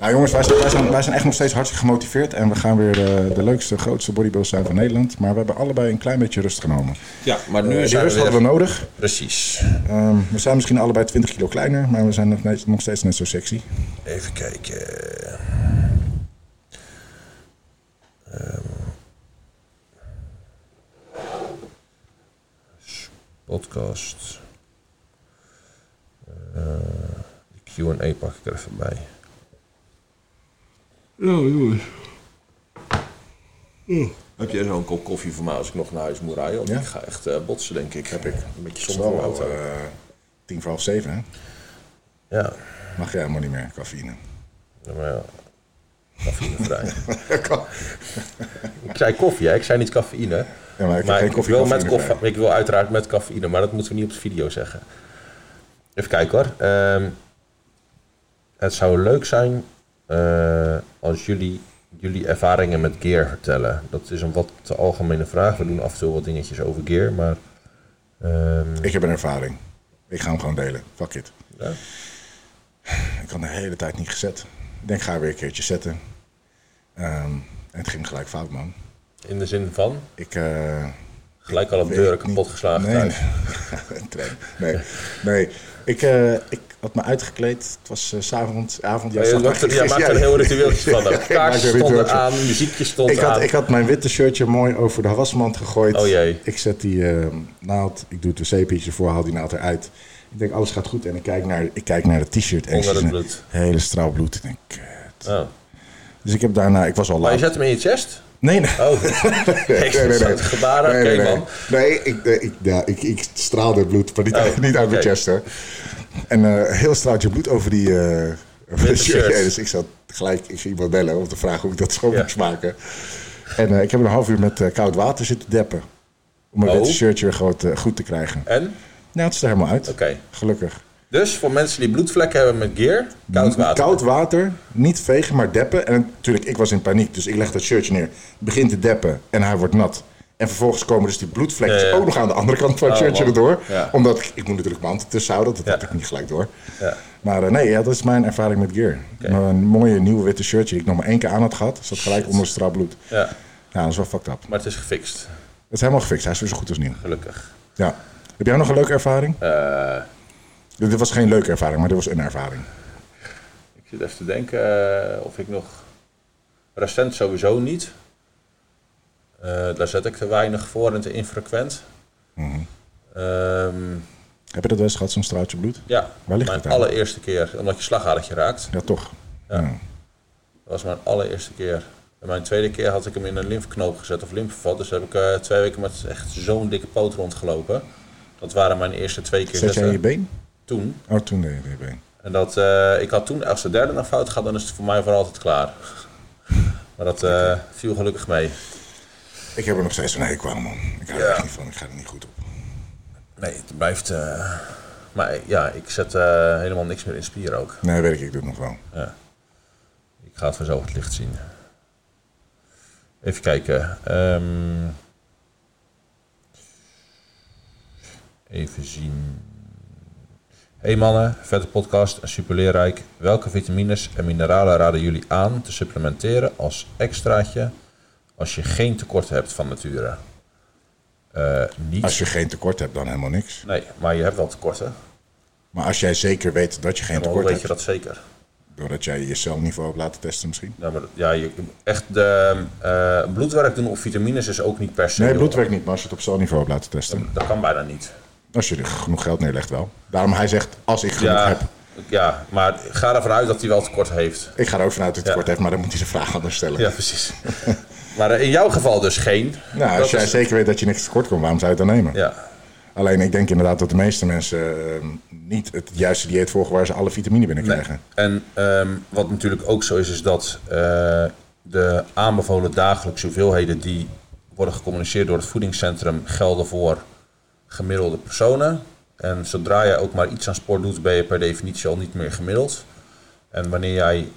Speaker 1: Nou jongens, wij zijn, wij, zijn, wij zijn echt nog steeds hartstikke gemotiveerd. En we gaan weer eh, de, de leukste, grootste bodybuilders zijn van Nederland. Maar we hebben allebei een klein beetje rust genomen.
Speaker 3: ja maar nu
Speaker 1: Eh,
Speaker 3: is
Speaker 1: die
Speaker 3: het
Speaker 1: rust hadden we nodig.
Speaker 2: Precies.
Speaker 1: Ehm, we zijn misschien allebei 20 kilo kleiner, maar we zijn nog, net- nog steeds net zo sexy.
Speaker 2: Even kijken. Ehm. podcast. Eh, de Q&A pak ik er even bij.
Speaker 3: Heb jij zo'n kop koffie voor mij als ik nog naar huis moet rijden? Want
Speaker 1: Ja.
Speaker 3: ik ga echt eh, botsen, denk ik. Heb ik. Een beetje
Speaker 1: Het is
Speaker 3: zonde voor
Speaker 1: wel
Speaker 3: mijn
Speaker 1: al
Speaker 3: auto.
Speaker 1: eh, tien voor half zeven, hè?
Speaker 2: Ja,
Speaker 1: Mag jij helemaal niet meer, cafeïne.
Speaker 2: ja, maar ja. Cafeïnevrij.
Speaker 1: Kan.
Speaker 2: ik zei koffie, hè? ik zei niet cafeïne.
Speaker 1: ja, maar ik heb
Speaker 2: Maar
Speaker 1: geen
Speaker 2: ik
Speaker 1: koffie.
Speaker 2: wil, met
Speaker 1: cafeïnevrij.
Speaker 2: koffie, ik wil uiteraard met cafeïne, maar dat moeten we niet op de video zeggen. Even kijken hoor. Ehm, het zou leuk zijn eh, als jullie jullie ervaringen met gear vertellen. Dat is een wat te algemene vraag. We doen af en toe wat dingetjes over gear, maar... ehm,
Speaker 1: Ik heb een ervaring. Ik ga hem gewoon delen. Fuck it.
Speaker 2: ja.
Speaker 1: Ik had de hele tijd niet gezet. Ik denk, ga weer een keertje zetten. Ehm, en het ging gelijk fout, man.
Speaker 2: In de zin van,
Speaker 1: Ik... eh,
Speaker 2: gelijk al op
Speaker 1: Weet
Speaker 2: deuren
Speaker 1: ik niet.
Speaker 2: kapot geslagen
Speaker 1: Nee,
Speaker 2: thuis.
Speaker 1: nee. Twee. nee, nee. Ik, eh, ik had me uitgekleed. Het was eh, 's avond. avond ja,
Speaker 2: Je
Speaker 1: zag
Speaker 2: maakt er,
Speaker 1: maar-
Speaker 2: jij maakt er een heel ritueeltje van.
Speaker 1: Ja,
Speaker 2: De
Speaker 1: ik maak
Speaker 2: kaarsen
Speaker 1: er een
Speaker 2: stonden
Speaker 1: ritueeltje.
Speaker 2: aan, muziekje stond
Speaker 1: Ik had,
Speaker 2: aan.
Speaker 1: ik had mijn witte shirtje mooi over de wasmand gegooid.
Speaker 2: Oh, jee.
Speaker 1: Ik zet die eh, naald, ik doe het wc-pietje voor, haal die naald eruit. Ik denk, alles gaat goed. En ik kijk naar, ik kijk naar het t-shirt. En ik
Speaker 2: Onder
Speaker 1: zie
Speaker 2: het
Speaker 1: een
Speaker 2: bloed.
Speaker 1: hele straal bloed. Ik denk, eh, kut.
Speaker 2: Oh.
Speaker 1: Dus ik heb daarna, ik was al
Speaker 2: Maar je
Speaker 1: laat.
Speaker 2: zet hem in je chest?
Speaker 1: Nee, nee.
Speaker 2: Oh, nee, nee, nee. gebaren, oké
Speaker 1: nee, nee,
Speaker 2: man.
Speaker 1: nee. Nee, ik, nee, ik, ja, ik, ik straalde bloed, maar niet,
Speaker 2: Oh,
Speaker 1: niet uit mijn
Speaker 2: oké.
Speaker 1: chest, hè. En eh heel straaltje bloed over die... eh, over
Speaker 2: Witte
Speaker 1: de shirt.
Speaker 2: shirt.
Speaker 1: Ja, dus ik zat gelijk, ik ging iemand bellen om te vragen hoe ik dat schoon
Speaker 2: Ja.
Speaker 1: moest maken. En eh, ik heb een half uur met eh, koud water zitten deppen. Om mijn
Speaker 2: Oh.
Speaker 1: witte shirtje weer goed, eh, goed te krijgen.
Speaker 2: En?
Speaker 1: Nou, het is er helemaal uit.
Speaker 2: Oké.
Speaker 1: Gelukkig.
Speaker 2: Dus voor mensen die bloedvlekken hebben met gear, koud water.
Speaker 1: Koud water, niet vegen, maar deppen. En natuurlijk, ik was in paniek, dus ik leg dat shirtje neer. Begint te deppen en hij wordt nat. En vervolgens komen dus die bloedvlekjes
Speaker 2: Ja, ja.
Speaker 1: ook nog aan de andere kant van het
Speaker 2: Oh,
Speaker 1: shirtje
Speaker 2: man.
Speaker 1: erdoor.
Speaker 3: Ja.
Speaker 1: Omdat ik, ik moet natuurlijk mijn hand tussen houden, dat
Speaker 2: Ja.
Speaker 1: heb ik niet gelijk door.
Speaker 2: Ja.
Speaker 1: Maar eh, nee, ja, dat is mijn ervaring met gear. Een mooie nieuwe witte shirtje die ik nog maar één keer aan had gehad. Zat gelijk onder een straal bloed.
Speaker 2: Ja,
Speaker 1: Ja, dat is wel fucked up.
Speaker 2: maar het is gefixt,
Speaker 1: Het is helemaal gefixt, hij is weer zo goed als nieuw.
Speaker 2: gelukkig.
Speaker 1: Ja. Heb jij nog een leuke ervaring?
Speaker 2: Eh,
Speaker 1: Dit was geen leuke ervaring, maar dit was een ervaring.
Speaker 2: ik zit even te denken eh, of ik nog... Recent sowieso niet. Eh, daar zet ik te weinig voor en te infrequent.
Speaker 1: Mhm.
Speaker 2: Ehm,
Speaker 1: Heb je dat wel eens gehad, zo'n straaltje bloed?
Speaker 2: ja,
Speaker 1: Waar ligt
Speaker 2: mijn
Speaker 1: het aan?
Speaker 2: allereerste keer, omdat je slagadertje raakt.
Speaker 1: Ja, toch. Ja.
Speaker 2: Dat was mijn allereerste keer. En mijn tweede keer had ik hem in een lymfknoop gezet of lymfevat. Dus heb ik eh, twee weken met echt zo'n dikke poot rondgelopen. Dat waren mijn eerste twee keer
Speaker 1: Zet jij in je
Speaker 2: zetten
Speaker 1: been?
Speaker 2: toen.
Speaker 1: Oh, toen deed je het in je been.
Speaker 2: En dat, eh, ik had toen, als de derde naar fout gaat, dan is het voor mij voor altijd klaar. Maar dat eh, viel gelukkig mee.
Speaker 1: Ik heb er nog steeds een hekel aan, man. Ik hou er echt niet van. Ik ga er niet goed op.
Speaker 2: Nee, het blijft... eh, maar ja, ik zet eh, helemaal niks meer in spier ook.
Speaker 1: Nee, weet ik. Ik doe het nog wel.
Speaker 2: Ik ga het vanzelf het licht zien. Even kijken. ehm. even zien. Hey mannen, vette podcast en super leerrijk. Welke vitamines en mineralen raden jullie aan te supplementeren als extraatje als je geen tekort hebt van nature? Eh, niet.
Speaker 1: Als je geen tekort hebt, dan helemaal niks.
Speaker 2: Nee, maar je hebt wel tekorten.
Speaker 1: Maar als jij zeker weet dat je geen
Speaker 2: Hoe
Speaker 1: tekort
Speaker 2: weet
Speaker 1: hebt,
Speaker 2: je dat zeker?
Speaker 1: doordat jij je celniveau hebt laten testen misschien.
Speaker 2: Nou, maar, dat- ja, je, echt de, eh, bloedwerk doen op vitamines is ook niet per se.
Speaker 1: Nee,
Speaker 2: heel
Speaker 1: bloedwerk niet, maar als je het op celniveau hebt laten testen.
Speaker 2: Dat kan bijna niet.
Speaker 1: Als je er genoeg geld neerlegt wel. Daarom hij zegt, als ik genoeg
Speaker 2: Ja,
Speaker 1: heb.
Speaker 2: ja, maar ga ervan uit dat hij wel tekort heeft.
Speaker 1: Ik ga er ook vanuit dat hij tekort heeft, maar dan moet hij zijn vraag anders stellen.
Speaker 2: Ja, precies. maar eh, in jouw geval dus geen.
Speaker 1: Nou, als
Speaker 2: Dat
Speaker 1: jij
Speaker 2: is-
Speaker 1: zeker weet dat je niks tekort komt, waarom zou je het dan nemen?
Speaker 2: Ja,
Speaker 1: Alleen ik denk inderdaad dat de meeste mensen eh, niet het juiste dieet volgen waar ze alle vitamine binnen
Speaker 2: nee.
Speaker 1: krijgen.
Speaker 2: En ehm, wat natuurlijk ook zo is, is dat eh, de aanbevolen dagelijkse hoeveelheden die worden gecommuniceerd door het voedingscentrum gelden voor gemiddelde personen. En zodra jij ook maar iets aan sport doet, ben je per definitie al niet meer gemiddeld. En wanneer jij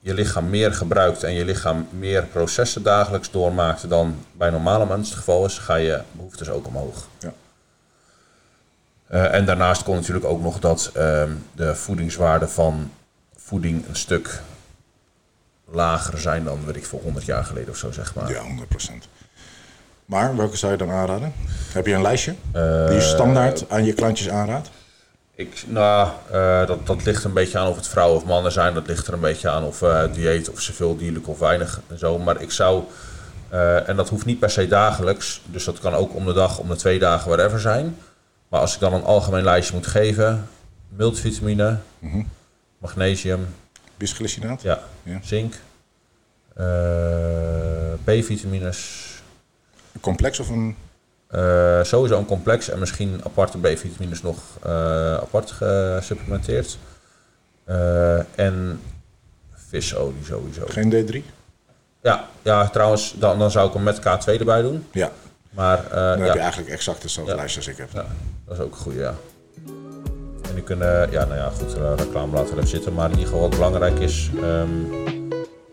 Speaker 2: je lichaam meer gebruikt en je lichaam meer processen dagelijks doormaakt dan bij normale mensen het geval is, ga je behoeftes ook omhoog.
Speaker 1: Ja.
Speaker 2: Eh, en daarnaast kon natuurlijk ook nog dat ehm, de voedingswaarden van voeding een stuk lager zijn dan, weet ik veel, 100 jaar geleden of zo, zeg maar.
Speaker 1: Ja, 100%. Maar welke zou je dan aanraden? Heb je een lijstje die
Speaker 2: Eh,
Speaker 1: je standaard aan je klantjes aanraadt?
Speaker 2: Ik, nou, eh, dat, dat ligt een beetje aan of het vrouwen of mannen zijn. Dat ligt er een beetje aan of eh, dieet, of ze veel dierlijk of weinig en zo. Maar ik zou, eh, en dat hoeft niet per se dagelijks. Dus dat kan ook om de dag, om de twee dagen, whatever zijn. Maar als ik dan een algemeen lijstje moet geven: multivitamine, magnesium,
Speaker 1: Bisglycinaat?
Speaker 2: ja,
Speaker 1: Ja.
Speaker 2: zink, eh, B-vitamines.
Speaker 1: Een complex of een...
Speaker 2: Eh, sowieso een complex en misschien aparte B-vitamines nog eh, apart gesupplementeerd. Eh, en visolie sowieso.
Speaker 1: Geen D3?
Speaker 2: Ja, ja, trouwens, dan, dan zou ik hem met K2 erbij doen.
Speaker 1: Ja.
Speaker 2: Maar eh,
Speaker 1: Dan
Speaker 2: ja,
Speaker 1: heb je eigenlijk exact hetzelfde
Speaker 2: Ja.
Speaker 1: lijstje als ik heb.
Speaker 2: ja, dat is ook een goede, ja. En die kunnen, ja, nou ja, goed, eh, reclame laten we even zitten. Maar in ieder geval wat belangrijk is, ehm,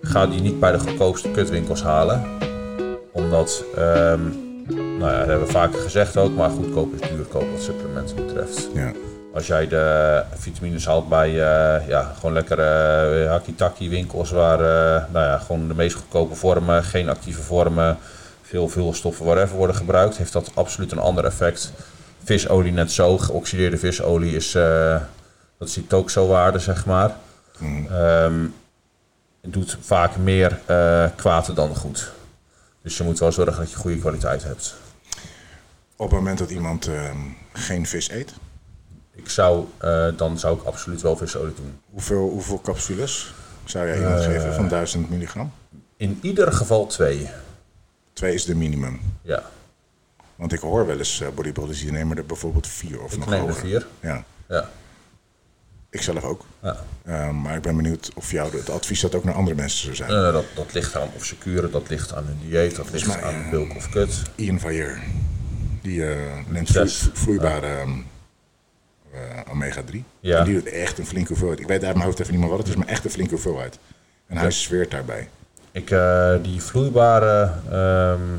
Speaker 2: ga die niet bij de goedkoopste kutwinkels halen. Omdat, ehm, nou ja, dat hebben we vaker gezegd ook, maar goedkoop is duurkoop wat supplementen betreft.
Speaker 1: Ja.
Speaker 2: Als jij de vitamines haalt bij eh, ja, gewoon lekkere hakkie-takkie winkels waar eh, nou ja, gewoon de meest goedkope vormen, geen actieve vormen, veel vulstoffen, whatever worden gebruikt, heeft dat absoluut een ander effect. Visolie net zo, geoxideerde visolie is, eh, dat is die toxo-waarde zeg maar. Ehm, het doet vaak meer eh, kwaad dan goed. Dus je moet wel zorgen dat je goede kwaliteit hebt.
Speaker 1: Op het moment dat iemand ehm, geen vis eet,
Speaker 2: Ik zou, eh, dan zou ik absoluut wel visolie doen.
Speaker 1: hoeveel, hoeveel capsules zou jij
Speaker 2: Eh.
Speaker 1: iemand geven van 1000 milligram?
Speaker 2: In ieder geval twee.
Speaker 1: Twee is de minimum.
Speaker 2: Ja,
Speaker 1: Want ik hoor wel eens eh, bodybuilders die nemen er bijvoorbeeld vier of nog
Speaker 2: neem er
Speaker 1: hoger.
Speaker 2: vier.
Speaker 1: Ja,
Speaker 2: ja,
Speaker 1: ik zelf ook.
Speaker 2: ja.
Speaker 1: Eh, maar ik ben benieuwd of jou het advies dat ook naar andere mensen zou zijn.
Speaker 2: Eh, dat, dat ligt aan of ze kuren, dat ligt aan hun dieet, dat ligt
Speaker 1: mij,
Speaker 2: aan
Speaker 1: eh,
Speaker 2: bulk of kut.
Speaker 1: Ian Vajer, die eh, neemt vloe-
Speaker 2: Yes.
Speaker 1: vloeibare ehm, eh, eh, omega-3.
Speaker 2: Ja.
Speaker 1: En die doet echt een flinke hoeveelheid. Ik weet uit mijn hoofd even niet meer wat het is, maar echt een flinke hoeveelheid. En hij zweert daarbij.
Speaker 2: Ik, eh, die vloeibare ehm,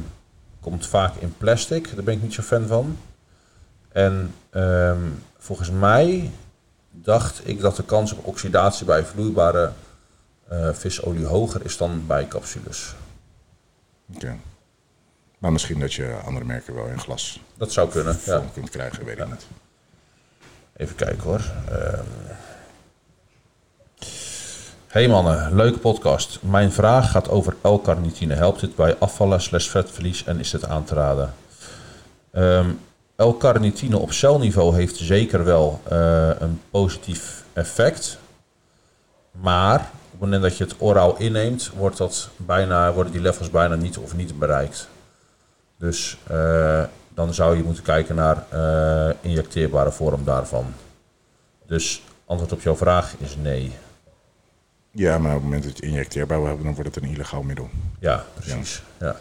Speaker 2: komt vaak in plastic, daar ben ik niet zo fan van. En ehm, volgens mij dacht ik dat de kans op oxidatie bij vloeibare eh, visolie hoger is dan bij capsules.
Speaker 1: Oké. Maar misschien dat je andere merken wel in glas
Speaker 2: Dat zou kunnen.
Speaker 1: vol
Speaker 2: Ja.
Speaker 1: kunt krijgen, weet ik niet.
Speaker 2: Even kijken hoor. Ehm. Hey mannen, leuke podcast. Mijn vraag gaat over L-carnitine. Helpt dit bij afvallen slash vetverlies en is dit aan te raden? Ehm, L-carnitine op celniveau heeft zeker wel eh, een positief effect. Maar op het moment dat je het oraal inneemt, wordt dat bijna, worden die levels bijna niet of niet bereikt. Dus eh, dan zou je moeten kijken naar eh, injecteerbare vorm daarvan. Dus antwoord op jouw vraag is nee.
Speaker 1: Ja, maar op het moment dat je het injecteerbaar wil hebben, dan wordt het een illegaal middel.
Speaker 2: Ja, precies. Ja.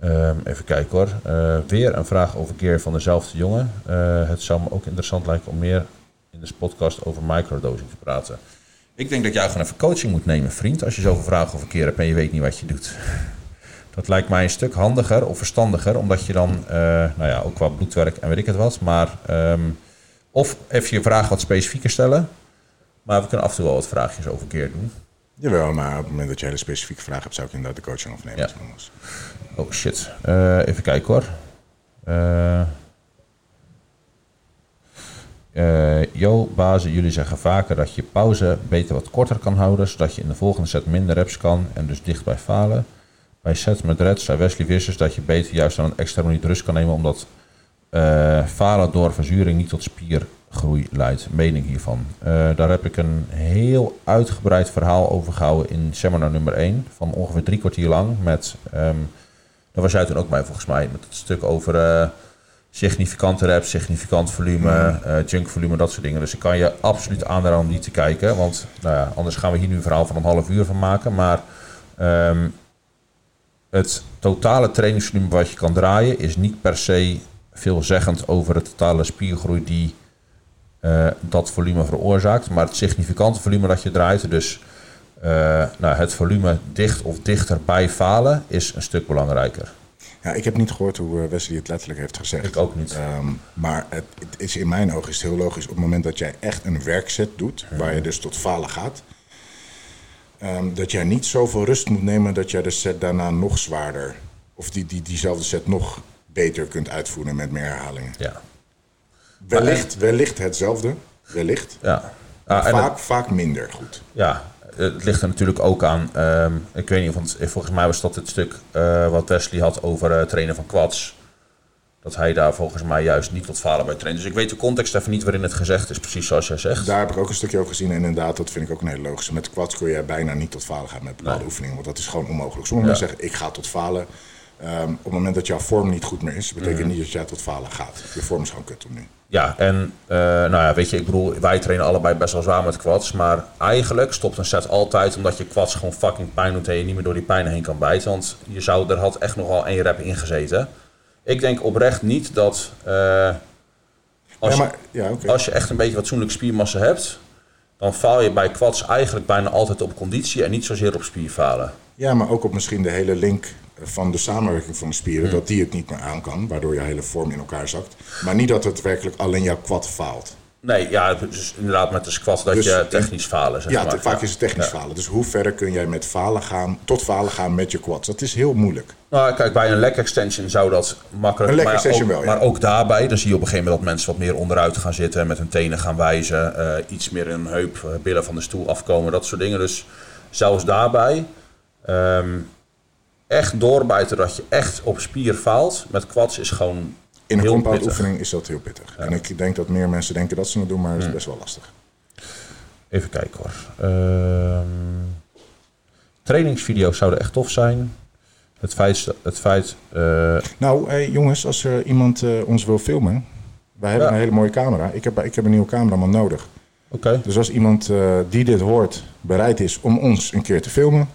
Speaker 2: Ehm, even kijken hoor. Eh, weer een vraag over keer van dezelfde jongen. Eh, het zou me ook interessant lijken om meer in deze podcast over microdosing te praten. Ik denk dat jij gewoon even coaching moet nemen, vriend. Als je zoveel vragen over keer hebt en je weet niet wat je doet. Dat lijkt mij een stuk handiger of verstandiger, omdat je dan, eh, nou ja, ook qua bloedwerk en weet ik het wat, maar ehm, of even je vraag wat specifieker stellen. Maar we kunnen af en toe wel wat vraagjes over keer doen.
Speaker 1: Jawel, maar op het moment dat je hele specifieke vraag hebt, zou ik inderdaad de coaching afnemen.
Speaker 2: Ja.
Speaker 1: trouwens.
Speaker 2: Oh shit. Eh, even kijken hoor. Eh eh, yo, bazen, jullie zeggen vaker dat je pauze beter wat korter kan houden, zodat je in de volgende set minder reps kan en dus dicht bij falen. Bij sets met red zei Wesley Vissers dat je beter juist dan een extra minuut rust kan nemen, omdat eh, falen door verzuring niet tot spiergroei leidt. Mening hiervan. Eh, daar heb ik een heel uitgebreid verhaal over gehouden in seminar nummer 1, van ongeveer drie kwartier lang, met... ehm, daar was jij toen ook bij volgens mij, met het stuk over eh, significante reps, significant volume, eh junk volume, dat soort dingen. Dus ik kan je absoluut aanraden om die te kijken, want nou ja, anders gaan we hier nu een verhaal van een half uur van maken. Maar ehm, het totale trainingsvolume wat je kan draaien is niet per se veelzeggend over de totale spiergroei die eh, dat volume veroorzaakt. Maar het significante volume dat je draait, dus eh, nou, het volume dicht of dichter bij falen, is een stuk belangrijker.
Speaker 1: Ja, ik heb niet gehoord hoe eh, Wesley het letterlijk heeft gezegd.
Speaker 2: Ik ook niet.
Speaker 1: Ehm, maar het, het is in mijn ogen is het heel logisch. Op het moment dat jij echt een werkset doet, waar je dus tot falen gaat, ehm, dat jij niet zoveel rust moet nemen dat jij de set daarna nog zwaarder, of die, die, diezelfde set nog beter kunt uitvoeren met meer herhalingen.
Speaker 2: Ja.
Speaker 1: Wellicht, wellicht hetzelfde, wellicht.
Speaker 2: Ja.
Speaker 1: maar
Speaker 2: Ah, en
Speaker 1: vaak, vaak minder goed.
Speaker 2: Ja, het ligt er natuurlijk ook aan. ehm, ik weet niet, want volgens mij was dat het stuk eh, wat Wesley had over eh, trainen van kwads. Dat hij daar volgens mij juist niet tot falen bij traint. Dus ik weet de context even niet waarin het gezegd is, precies zoals jij zegt.
Speaker 1: Daar heb ik ook een stukje over gezien. En inderdaad, dat vind ik ook een hele logische. Met quads kun je bijna niet tot falen gaan met bepaalde oefeningen. Want dat is gewoon onmogelijk. Sommige mensen zeggen, ik ga tot falen. Ehm, op het moment dat jouw vorm niet goed meer is, betekent niet dat jij tot falen gaat. Je vorm is gewoon kut om nu.
Speaker 2: Ja, en eh, nou ja, weet je, ik bedoel, wij trainen allebei best wel zwaar met kwads. Maar eigenlijk stopt een set altijd omdat je kwads gewoon fucking pijn doet en je niet meer door die pijn heen kan bijten. Want je zou, er had echt nogal één rep in gezeten. Ik denk oprecht niet dat. eh,
Speaker 1: ja,
Speaker 2: als je-
Speaker 1: maar, ja, oké.
Speaker 2: Als je echt een beetje fatsoenlijk spiermassa hebt, dan faal je bij kwads eigenlijk bijna altijd op conditie en niet zozeer op spierfalen.
Speaker 1: ja, maar ook op misschien de hele link van de samenwerking van de spieren. Dat die het niet meer aan kan, waardoor je hele vorm in elkaar zakt. Maar niet dat het werkelijk alleen jouw quad faalt.
Speaker 2: Nee, ja, dus inderdaad met de squat dat
Speaker 1: Dus-
Speaker 2: je technisch falen, zeg
Speaker 1: Ja,
Speaker 2: maar.
Speaker 1: te- vaak is het technisch falen. Dus hoe verder kun jij met falen gaan, tot falen gaan met je quads? Dat is heel moeilijk.
Speaker 2: Nou, kijk, bij een leg extension zou dat makkelijk...
Speaker 1: Een leg
Speaker 2: maar
Speaker 1: extension
Speaker 2: ook,
Speaker 1: wel, ja.
Speaker 2: Maar ook daarbij, dan zie je op een gegeven moment dat mensen wat meer onderuit gaan zitten... en met hun tenen gaan wijzen, eh, iets meer hun heup, eh, billen van de stoel afkomen, dat soort dingen. Dus zelfs daarbij ehm, echt doorbijten dat je echt op spier faalt met quads is gewoon
Speaker 1: In een
Speaker 2: heel
Speaker 1: compound
Speaker 2: pittig.
Speaker 1: oefening is dat heel pittig. En ik denk dat meer mensen denken dat ze het doen, maar het is best wel lastig.
Speaker 2: Even kijken hoor. Ehm, trainingsvideo's zouden echt tof zijn. Het feit, het feit eh,
Speaker 1: Nou, hey, jongens, als er iemand eh, ons wil filmen, wij hebben
Speaker 2: Ja.
Speaker 1: een hele mooie camera. Ik heb, ik heb een nieuwe cameraman nodig.
Speaker 2: oké.
Speaker 1: Dus als iemand eh, die dit hoort bereid is om ons een keer te filmen,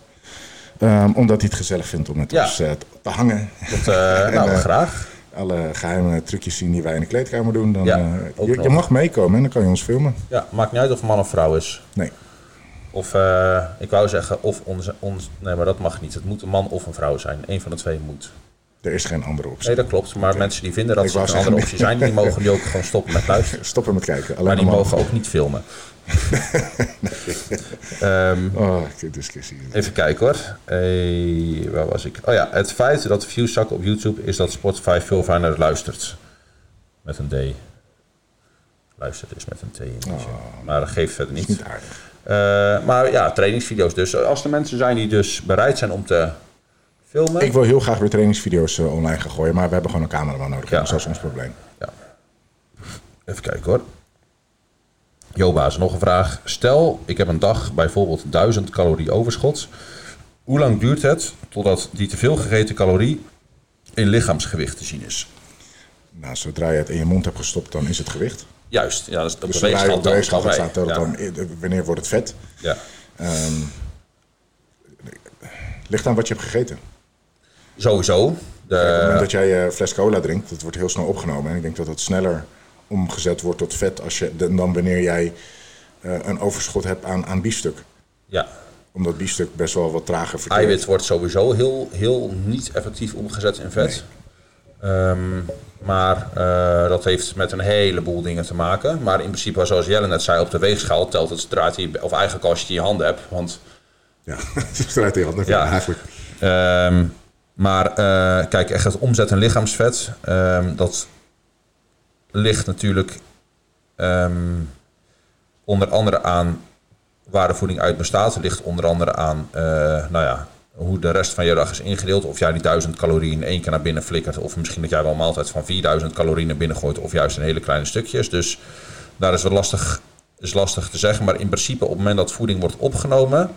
Speaker 1: ehm, omdat hij het gezellig vindt om met
Speaker 2: Ja.
Speaker 1: ons eh, te hangen,
Speaker 2: Dat, eh, nou, graag.
Speaker 1: alle geheime trucjes zien die wij in de kleedkamer doen, dan
Speaker 2: Ja,
Speaker 1: eh,
Speaker 2: ook
Speaker 1: je,
Speaker 2: nog.
Speaker 1: je mag meekomen en dan kan je ons filmen.
Speaker 2: Ja, maakt niet uit of man of vrouw is.
Speaker 1: Nee,
Speaker 2: Of eh, ik wou zeggen, of onze, ons. Nee, maar dat mag niet. Het moet een man of een vrouw zijn. Eén van de twee moet.
Speaker 1: er is geen andere optie.
Speaker 2: Nee, dat klopt. Maar mensen die vinden dat
Speaker 1: Ik
Speaker 2: ze
Speaker 1: wou
Speaker 2: een andere
Speaker 1: zeggen,
Speaker 2: optie zijn, die mogen die ook gewoon stoppen met luisteren.
Speaker 1: Stoppen met kijken. Alleen
Speaker 2: Maar die
Speaker 1: maar-
Speaker 2: mogen ook niet filmen. Ehm,
Speaker 1: Oh, ik discussie.
Speaker 2: Even kijken hoor. Eh, waar was ik? Oh ja, het feit dat de views zakken op YouTube is dat Spotify veel fijner luistert. Met een D. Luistert is met een T. in het zin. Maar dat geeft verder niet.
Speaker 1: Ah. Niet aardig.
Speaker 2: Eh, maar ja, trainingsvideo's dus. Als er mensen zijn die dus bereid zijn om te filmen.
Speaker 1: Ik wil heel graag weer trainingsvideo's eh, online gaan gooien, maar we hebben gewoon een cameraman nodig.
Speaker 2: Ja.
Speaker 1: Dat is als ons probleem.
Speaker 2: Ja. Even kijken hoor. Jobaas, nog een vraag. Stel, ik heb een dag bijvoorbeeld 1000 calorie overschot. Hoe lang duurt het totdat die teveel gegeten calorie in lichaamsgewicht te zien is?
Speaker 1: Nou, zodra je het in je mond hebt gestopt, dan is het gewicht.
Speaker 2: Juist, ja, dat, dat
Speaker 1: Dus zodra je op de weegschaal gaat staan, telt het
Speaker 2: ja.
Speaker 1: dan, eh, wanneer wordt het vet?
Speaker 2: Ja.
Speaker 1: Ligt aan wat je hebt gegeten.
Speaker 2: Sowieso.
Speaker 1: Op het
Speaker 2: De,
Speaker 1: moment dat jij eh, fles cola drinkt, dat wordt heel snel opgenomen. En ik denk dat dat sneller omgezet wordt tot vet als je, dan dan wanneer jij eh, een overschot hebt aan, aan biefstuk.
Speaker 2: ja.
Speaker 1: Omdat biefstuk best wel wat trager verteert.
Speaker 2: Eiwit wordt sowieso heel, heel niet effectief omgezet in vet. Ehm, maar eh, dat heeft met een heleboel dingen te maken. Maar in principe, zoals Jelle net zei, op de weegschaal telt het zodra het in je- of eigenlijk als je het in je handen hebt. Want
Speaker 1: Ja, het is eruit in je handen.
Speaker 2: Ja.
Speaker 1: eigenlijk.
Speaker 2: Ehm, maar eh, kijk, echt het omzet en lichaamsvet, ehm, dat ligt natuurlijk ehm, onder andere aan waar de voeding uit bestaat. Het ligt onder andere aan eh, nou ja, hoe de rest van je dag is ingedeeld. Of jij die 1000 calorieën in één keer naar binnen flikkert. Of misschien dat jij wel een maaltijd van 4000 calorieën naar binnen gooit. Of juist in hele kleine stukjes. Dus daar is het lastig, is lastig te zeggen. Maar in principe op het moment dat voeding wordt opgenomen...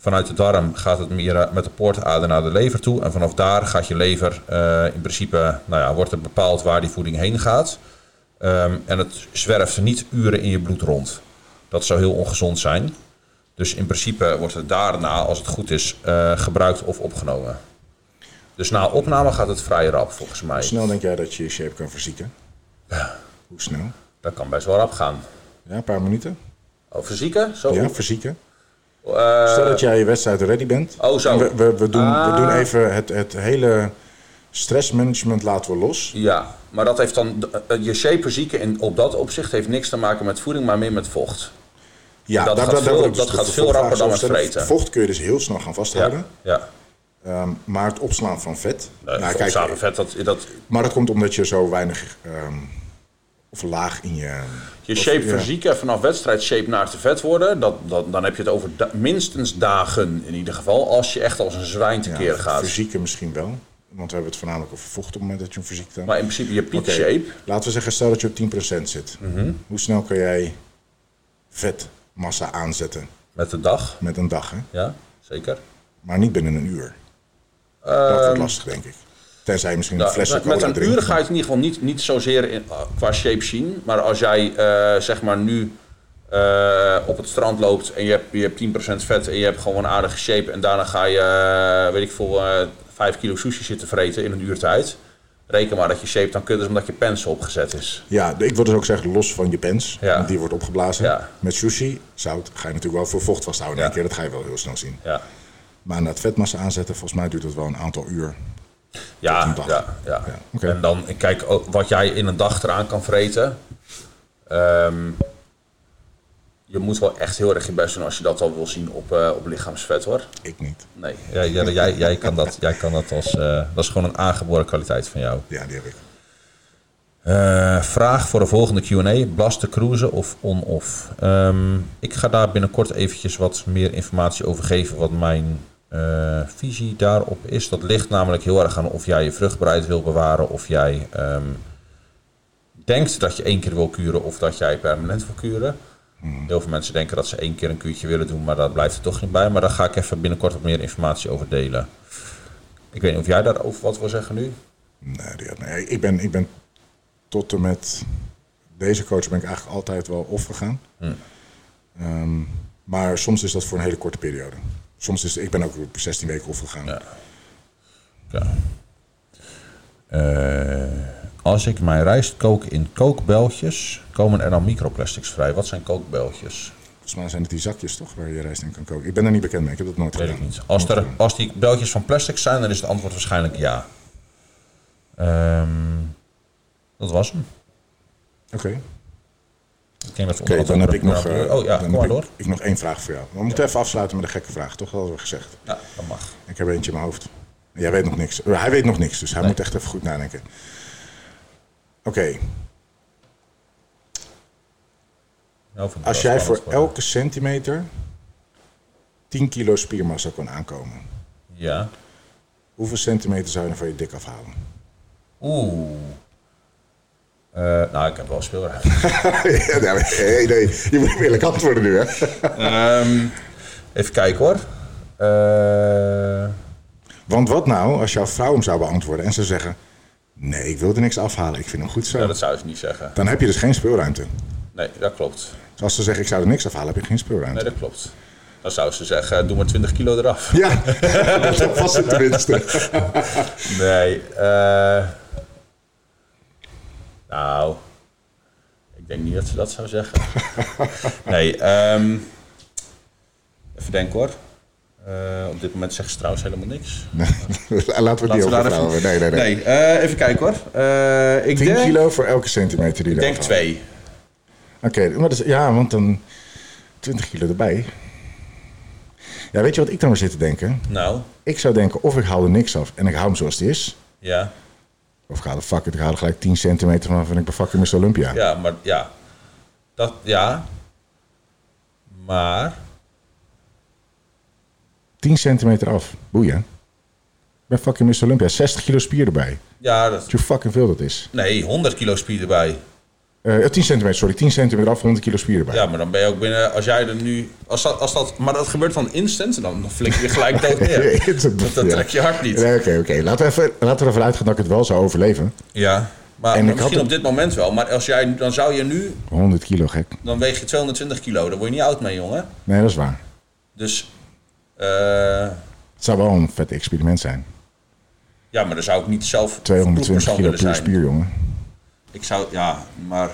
Speaker 2: Vanuit de darm gaat het meer eh, met de poortader naar de lever toe. En vanaf daar gaat je lever eh, in principe, nou ja, wordt er bepaald waar die voeding heen gaat. Ehm, en het zwerft niet uren in je bloed rond. Dat zou heel ongezond zijn. Dus in principe wordt het daarna, als het goed is, eh, gebruikt of opgenomen. Dus na opname gaat het vrij rap, volgens mij.
Speaker 1: Hoe snel denk jij dat je je shape kan verzieken? Hoe snel?
Speaker 2: Dat kan best wel rap gaan.
Speaker 1: Ja, een paar minuten.
Speaker 2: Oh, fysieke? Zo? Eh,
Speaker 1: Ja, verzieken. Stel dat jij je wedstrijd ready bent.
Speaker 2: Oh, zo. Ah.
Speaker 1: En We, we, we doen, we doen even het, het hele Stressmanagement laten we los.
Speaker 2: Ja, maar dat heeft dan. eh, Je shaperziekte in, op dat opzicht heeft niks te maken met voeding, maar meer met vocht.
Speaker 1: Ja,
Speaker 2: Dat gaat
Speaker 1: wil
Speaker 2: veel-
Speaker 1: ik dus
Speaker 2: dat
Speaker 1: de
Speaker 2: gaat veel
Speaker 1: vraag
Speaker 2: rapper dan
Speaker 1: over stellen.
Speaker 2: het vreten.
Speaker 1: Vocht kun je dus heel snel gaan
Speaker 2: Ja.
Speaker 1: vasthouden.
Speaker 2: ja.
Speaker 1: ehm, maar het opslaan van vet.
Speaker 2: Eh,
Speaker 1: nou,
Speaker 2: voor
Speaker 1: kijk,
Speaker 2: samenvet, dat, dat,
Speaker 1: maar dat komt omdat je zo weinig ehm, of laag in je.
Speaker 2: je shape
Speaker 1: ja.
Speaker 2: verzieken en vanaf wedstrijd shape naar te vet worden, dat, dat, dan heb je het over da- minstens dagen in ieder geval. Als je echt als een zwijn
Speaker 1: ja,
Speaker 2: tekeer gaat.
Speaker 1: Fysieke misschien wel. Want we hebben het voornamelijk over vocht op het moment dat je een fysiek hebt.
Speaker 2: Maar in principe je peak
Speaker 1: Oké,
Speaker 2: shape. Mhm.
Speaker 1: Laten we zeggen, stel dat je op 10% zit. Hoe snel kan jij vetmassa aanzetten
Speaker 2: Met de dag.
Speaker 1: met een dag? Hè?
Speaker 2: Ja, zeker.
Speaker 1: Maar niet binnen een uur. dat wordt lastig, denk ik. Tenzij je misschien een
Speaker 2: Ja,
Speaker 1: flesje
Speaker 2: Ehm, nou, met-
Speaker 1: cola
Speaker 2: met een
Speaker 1: drinkt.
Speaker 2: uur ga je het in ieder geval niet, niet zozeer in, eh, qua shape zien. Maar als jij eh, zeg maar nu eh, op het strand loopt en je hebt, je hebt 10% vet en je hebt gewoon een aardige shape. En daarna ga je, eh, weet ik veel, eh 5 kilo sushi zitten vreten in een uur tijd. Reken maar dat je shape dan kut is omdat je pencil opgezet is.
Speaker 1: Ja, de- ik wil dus ook zeggen, los van je pens,
Speaker 2: Ja.
Speaker 1: want die wordt opgeblazen.
Speaker 2: Ja.
Speaker 1: Met sushi, zout, ga je natuurlijk wel voor vocht vasthouden. in
Speaker 2: Ja.
Speaker 1: één keer, dat ga je wel heel snel zien.
Speaker 2: Ja,
Speaker 1: Maar na het vetmassa aanzetten, volgens mij duurt dat wel een aantal uur.
Speaker 2: ja,
Speaker 1: Tot een dag.
Speaker 2: ja. ja.
Speaker 1: Ja, oké.
Speaker 2: En dan kijk ook wat jij in een dag eraan kan vreten. Ehm, je moet wel echt heel erg je best doen als je dat al wil zien op, eh, op lichaamsvet hoor.
Speaker 1: Ik niet.
Speaker 2: Nee, jij, jij, jij, jij kan, dat, jij kan dat als. eh, dat is gewoon een aangeboren kwaliteit van jou.
Speaker 1: Ja, die heb ik.
Speaker 2: Eh, vraag voor de volgende QA: Blas de cruisen of on-off? Ehm, ik ga daar binnenkort eventjes wat meer informatie over geven. Wat mijn eh, visie daarop is. Dat ligt namelijk heel erg aan of jij je vruchtbaarheid wil bewaren. Of jij ehm, denkt dat je één keer wil kuren of dat jij permanent wil kuren. Heel veel mensen denken dat ze één keer een kuurtje willen doen, maar dat blijft er toch niet bij. Maar daar ga ik even binnenkort wat meer informatie over delen. Ik weet niet of jij daarover wat wil zeggen nu.
Speaker 1: Nee, die heb ik. Nee, ik, ben, ik ben tot en met deze coach ben ik eigenlijk altijd wel off gegaan.
Speaker 2: Hmm.
Speaker 1: Ehm, maar soms is dat voor een hele korte periode. Soms is ik ben ook op 16 weken off gegaan.
Speaker 2: Ja. Ja. Eh, als ik mijn rijst kook in kookbeltjes, komen er dan microplastics vrij. Wat zijn kookbeltjes?
Speaker 1: Volgens mij zijn het die zakjes toch waar je rijst in kan koken. Ik ben er niet bekend mee. Ik heb dat nooit
Speaker 2: Weet ik
Speaker 1: gedaan.
Speaker 2: niet. Als, er, als die beltjes van plastic zijn, dan is het antwoord waarschijnlijk ja. Ehm, dat was hem.
Speaker 1: Oké.
Speaker 2: Ik denk dat we
Speaker 1: Oké,
Speaker 2: onder
Speaker 1: dan heb
Speaker 2: andere-
Speaker 1: ik nog. eh,
Speaker 2: Oh ja,
Speaker 1: dan
Speaker 2: kom maar
Speaker 1: heb
Speaker 2: door.
Speaker 1: Ik, ik nog één vraag voor jou. We moeten even afsluiten met een gekke vraag, toch? Dat hadden we gezegd.
Speaker 2: Ja, dat mag.
Speaker 1: Ik heb eentje in mijn hoofd. Jij weet nog niks. Eh, Hij weet nog niks, dus hij moet echt even goed nadenken. Oké,
Speaker 2: Nou, vind ik
Speaker 1: als
Speaker 2: wel
Speaker 1: jij voor
Speaker 2: spannend worden.
Speaker 1: elke centimeter 10 kilo spiermassa kon aankomen,
Speaker 2: Ja.
Speaker 1: hoeveel centimeter zou je dan van je dik afhalen?
Speaker 2: Oeh. Eh, nou, ik heb wel speelruimte.
Speaker 1: ja, nee, maar- nee, nee, je moet eerlijk antwoorden nu, hè?
Speaker 2: Ehm, even kijken hoor. Eh,
Speaker 1: Want wat nou als jouw vrouw hem zou beantwoorden en ze zeggen: Nee, ik wil er niks afhalen, ik vind hem goed zo.
Speaker 2: nou, dat zou ik niet zeggen.
Speaker 1: Dan heb je dus geen speelruimte.
Speaker 2: Nee, dat klopt.
Speaker 1: Dus als ze zeggen: Ik zou er niks afhalen, heb je geen speelruimte.
Speaker 2: Nee, dat klopt. Dan zou ze zeggen, doe maar 20 kilo eraf.
Speaker 1: Ja, dat was het tenminste.
Speaker 2: Nee. eh, nou, ik denk niet dat ze dat zou zeggen. Nee, ehm, even denken hoor. Eh, op dit moment zegt ze trouwens helemaal niks.
Speaker 1: Laten we het niet
Speaker 2: Laten we daar
Speaker 1: over
Speaker 2: even-
Speaker 1: vrouwen. Nee, nee, nee.
Speaker 2: Nee, eh, even kijken hoor. Eh, ik
Speaker 1: 10
Speaker 2: denk,
Speaker 1: kilo voor elke centimeter die
Speaker 2: ik
Speaker 1: er
Speaker 2: denk
Speaker 1: afvalt.
Speaker 2: twee.
Speaker 1: Oké, maar dat is- ja, want dan 20 kilo erbij. Ja, weet je wat ik dan weer zit te denken?
Speaker 2: Nou,
Speaker 1: Ik zou denken, of ik haal er niks af en ik hou hem zoals die is.
Speaker 2: ja.
Speaker 1: Of ik haal er fuck it, ik haal er gelijk 10 centimeter vanaf en ik ben fucking Mr. Olympia.
Speaker 2: Ja, maar ja. Dat, ja. Maar,
Speaker 1: 10 centimeter af, boeien. Ik ben fucking Mr. Olympia, 60 kilo spier erbij.
Speaker 2: ja, dat,
Speaker 1: Weet je hoe fucking veel dat is?
Speaker 2: nee, 100 kilo spier erbij.
Speaker 1: Eh, 10 centimeter, sorry, 10 centimeter af, 100 kilo spier erbij.
Speaker 2: Ja, maar dan ben je ook binnen, als jij er nu, als dat, als dat maar dat gebeurt dan instant, dan dan flik je er gelijk dood neer. Dat, dat
Speaker 1: Ja.
Speaker 2: trek je hard niet.
Speaker 1: Nee, Oké, oké. Laten we even- laten we ervan uitgaan dat ik het wel zou overleven.
Speaker 2: Ja, maar
Speaker 1: En ik had
Speaker 2: misschien
Speaker 1: het-
Speaker 2: op dit moment wel. Maar als jij, dan zou je nu,
Speaker 1: 100 kilo gek.
Speaker 2: dan weeg je 220 kilo. Daar word je niet oud mee, jongen.
Speaker 1: Nee, dat is waar.
Speaker 2: Dus, eh,
Speaker 1: Het zou wel een vet experiment zijn.
Speaker 2: ja, maar dan zou ik niet zelf
Speaker 1: 220
Speaker 2: proefpersoon
Speaker 1: kilo
Speaker 2: willen
Speaker 1: puur
Speaker 2: zijn.
Speaker 1: spier, jongen.
Speaker 2: Ik zou, ja, maar...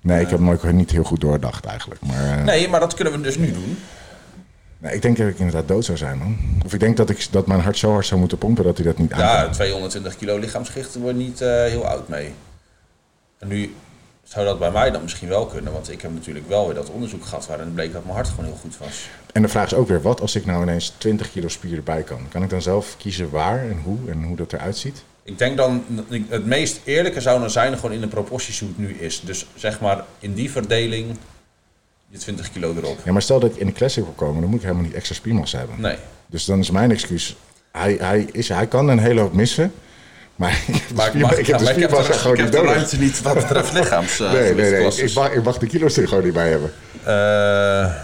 Speaker 1: Nee, ik heb hem nooit niet heel goed doordacht eigenlijk. Maar eh,
Speaker 2: Nee, maar dat kunnen we dus nu doen.
Speaker 1: Nee, ik denk dat ik inderdaad dood zou zijn, man. Of ik denk dat, ik, dat mijn hart zo hard zou moeten pompen dat hij dat niet aan
Speaker 2: Ja, 220 kilo lichaamsgewicht wordt niet eh, heel oud mee. En nu zou dat bij mij dan misschien wel kunnen, want ik heb natuurlijk wel weer dat onderzoek gehad waarin bleek dat mijn hart gewoon heel goed was.
Speaker 1: En de vraag is ook weer, wat als ik nou ineens 20 kilo spier erbij kan? Kan ik dan zelf kiezen waar en hoe en hoe dat eruit ziet?
Speaker 2: Ik denk dan, het meest eerlijke zou dan zijn gewoon in de proporties hoe het nu is. Dus zeg maar in die verdeling je 20 kilo erop.
Speaker 1: Ja, maar stel dat ik in de classic wil komen, dan moet ik helemaal niet extra spiermassa hebben.
Speaker 2: Nee.
Speaker 1: Dus dan is mijn excuus, hij, hij, is, hij kan een hele hoop missen, maar ik heb de
Speaker 2: Maar ik,
Speaker 1: spier-
Speaker 2: mag,
Speaker 1: ik heb de
Speaker 2: maar ik heb de,
Speaker 1: spiermassa gewoon
Speaker 2: ik heb
Speaker 1: niet
Speaker 2: de
Speaker 1: nodig.
Speaker 2: ruimte niet wat betreft lichaams. eh,
Speaker 1: Nee, nee, nee.
Speaker 2: gewichtsklassen.
Speaker 1: Ik mag, ik mag de kilo's er gewoon niet bij hebben.
Speaker 2: Eh,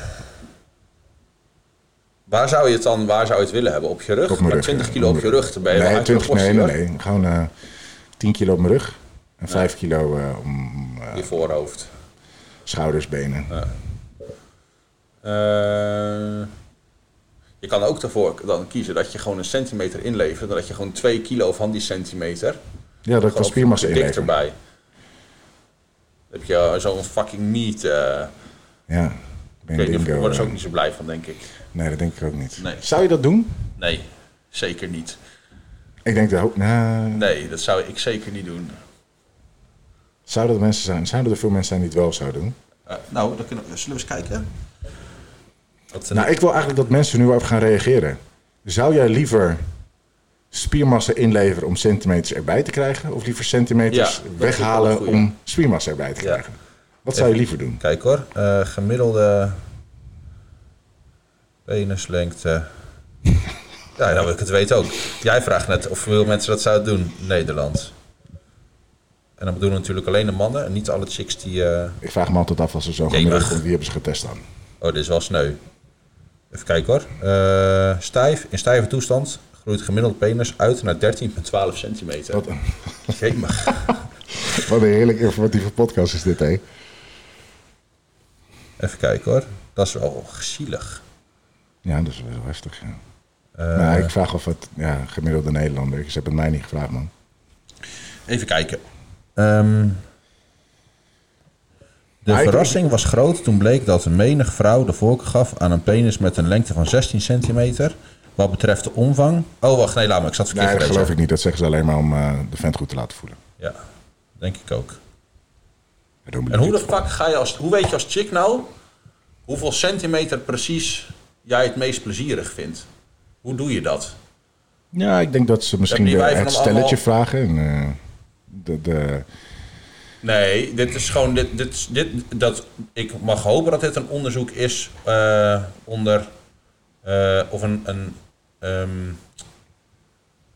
Speaker 2: waar zou je het dan, waar zou je het willen hebben? Op je rug?
Speaker 1: Op mijn
Speaker 2: maar
Speaker 1: rug.
Speaker 2: 20 kilo op je rug, dan ben je wel
Speaker 1: Nee,
Speaker 2: uit je
Speaker 1: 20, nee,
Speaker 2: proportie,
Speaker 1: nee,
Speaker 2: hoor.
Speaker 1: nee. Gewoon eh 10 kilo op mijn rug en 5 kilo eh, om eh,
Speaker 2: Je voorhoofd.
Speaker 1: schouders, benen.
Speaker 2: Eh, je kan ook ervoor dan kiezen dat je gewoon een centimeter inlevert. Dat je gewoon 2 kilo van die centimeter.
Speaker 1: ja, dat kan
Speaker 2: gewoon
Speaker 1: spiermassa
Speaker 2: dik
Speaker 1: inleveren.
Speaker 2: erbij. Dan heb je zo'n fucking meat. eh
Speaker 1: Ja, ben
Speaker 2: ik
Speaker 1: je
Speaker 2: weet niet,
Speaker 1: dingo,
Speaker 2: daar worden ze
Speaker 1: eh.
Speaker 2: ook niet zo blij van, denk ik.
Speaker 1: Nee, dat denk ik ook niet.
Speaker 2: Nee.
Speaker 1: Zou je dat doen?
Speaker 2: Nee, zeker niet.
Speaker 1: Ik denk dat... Nou,
Speaker 2: Nee, dat zou ik zeker niet doen.
Speaker 1: Zouden er mensen zijn? Zouden er veel mensen zijn die het wel zouden doen?
Speaker 2: Eh, nou, dan kunnen we, zullen we eens kijken. Wat, eh,
Speaker 1: Nou, ik wil eigenlijk dat mensen nu op gaan reageren. Zou jij liever spiermassa inleveren om centimeters erbij te krijgen? Of liever centimeters
Speaker 2: Ja, dat is
Speaker 1: weghalen
Speaker 2: wel een goeie.
Speaker 1: om spiermassa erbij te
Speaker 2: Ja.
Speaker 1: krijgen? Wat zou je liever doen?
Speaker 2: Kijk hoor, eh, gemiddelde penislengte. ja, nou wil ik het weten ook. Jij vraagt net of veel mensen dat zouden doen. Nederland. En dan bedoelen we natuurlijk alleen de mannen en niet alle chicks die... eh,
Speaker 1: Ik vraag me altijd af als er zo'n
Speaker 2: Jemig.
Speaker 1: gemiddelde komt. Wie hebben ze getest dan?
Speaker 2: Oh, dit is wel sneu. Even kijken hoor. Eh, stijf, in stijve toestand groeit gemiddeld penis uit naar 13,12 centimeter.
Speaker 1: Wat,
Speaker 2: Jemig.
Speaker 1: wat een heerlijk informatieve podcast is dit, hè?
Speaker 2: Even kijken hoor. Dat is wel zielig.
Speaker 1: Ja, dat is wel heftig. Ja.
Speaker 2: Eh,
Speaker 1: Nou, ik vraag of het ja, gemiddelde Nederlander. Ze hebben het mij niet gevraagd, man.
Speaker 2: Even kijken. Ehm, de
Speaker 1: Ah, ik-
Speaker 2: verrassing was groot toen bleek dat een menig vrouw de voorkeur gaf aan een penis met een lengte van 16 centimeter. Wat betreft de omvang. Oh, wacht, nee, laat maar. Ik zat verkeerd
Speaker 1: Nee, dat
Speaker 2: gelezen.
Speaker 1: geloof ik niet. Dat zeggen ze alleen maar om eh, de vent goed te laten voelen.
Speaker 2: Ja, denk ik ook.
Speaker 1: Dat doen we
Speaker 2: En hoe
Speaker 1: niet.
Speaker 2: de fuck ga je als... Hoe weet je als chick nou hoeveel centimeter precies jij het meest plezierig vindt? Hoe doe je dat?
Speaker 1: Ja, ik denk dat ze misschien
Speaker 2: Hebben die
Speaker 1: de-
Speaker 2: wijven
Speaker 1: het
Speaker 2: hem
Speaker 1: stelletje
Speaker 2: allemaal-
Speaker 1: vragen. En, eh, de, de,
Speaker 2: Nee, dit is gewoon. Dit, dit, is- dit, dat, ik mag hopen dat dit een onderzoek is eh, onder. eh, of een. een ehm,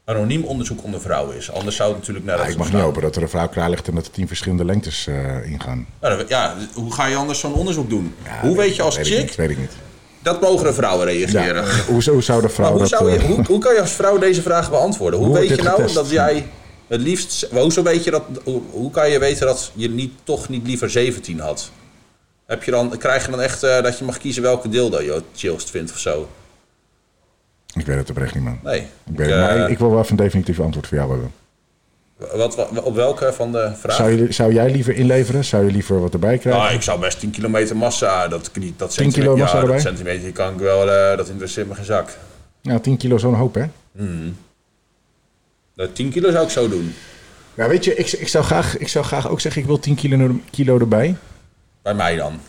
Speaker 2: anoniem onderzoek onder vrouwen is. Anders zou het natuurlijk naar.
Speaker 1: Ah,
Speaker 2: dat-
Speaker 1: ik mag niet hopen dat er een vrouw klaar ligt en dat er tien verschillende lengtes eh, ingaan.
Speaker 2: Nou, dat- ja, hoe ga je anders zo'n onderzoek doen?
Speaker 1: Ja,
Speaker 2: hoe weet je als
Speaker 1: weet ik
Speaker 2: chick.
Speaker 1: niet, weet ik niet.
Speaker 2: dat mogen de vrouwen reageren.
Speaker 1: Ja, hoe, hoe zou de vrouw
Speaker 2: Maar hoe,
Speaker 1: dat...
Speaker 2: zou je,
Speaker 1: eh,
Speaker 2: hoe, hoe kan je als vrouw deze vraag beantwoorden? Hoe,
Speaker 1: Hoe wordt
Speaker 2: weet
Speaker 1: dit
Speaker 2: je nou
Speaker 1: getest?
Speaker 2: dat jij het liefst. Hoezo weet je dat, hoe, hoe kan je weten dat je niet, toch niet liever 17 had? Heb je dan, krijg je dan echt eh, dat je mag kiezen welke dildo je het chillst vindt of zo?
Speaker 1: Ik weet het oprecht niet, man.
Speaker 2: Nee.
Speaker 1: Ik, weet
Speaker 2: Eh,
Speaker 1: het, maar ik, ik wil wel even een definitief antwoord voor jou hebben.
Speaker 2: wat, wat- op welke van de vragen?
Speaker 1: Zou, je, zou jij liever inleveren? Zou je liever wat erbij krijgen?
Speaker 2: Ah, ik zou best 10 kilometer massa, ah, dat, niet- dat
Speaker 1: 10 kilo
Speaker 2: centimeter,
Speaker 1: massa
Speaker 2: ja, dat
Speaker 1: erbij?
Speaker 2: centimeter kan ik wel, eh, dat interesseert me geen zak.
Speaker 1: Nou, 10 kilo is zo'n hoop, hè?
Speaker 2: Nou, 10 kilo zou ik zo doen.
Speaker 1: Ja, weet je, ik, ik, zou graag, ik zou graag ook zeggen, ik wil 10 kilo, kilo erbij.
Speaker 2: Bij mij dan.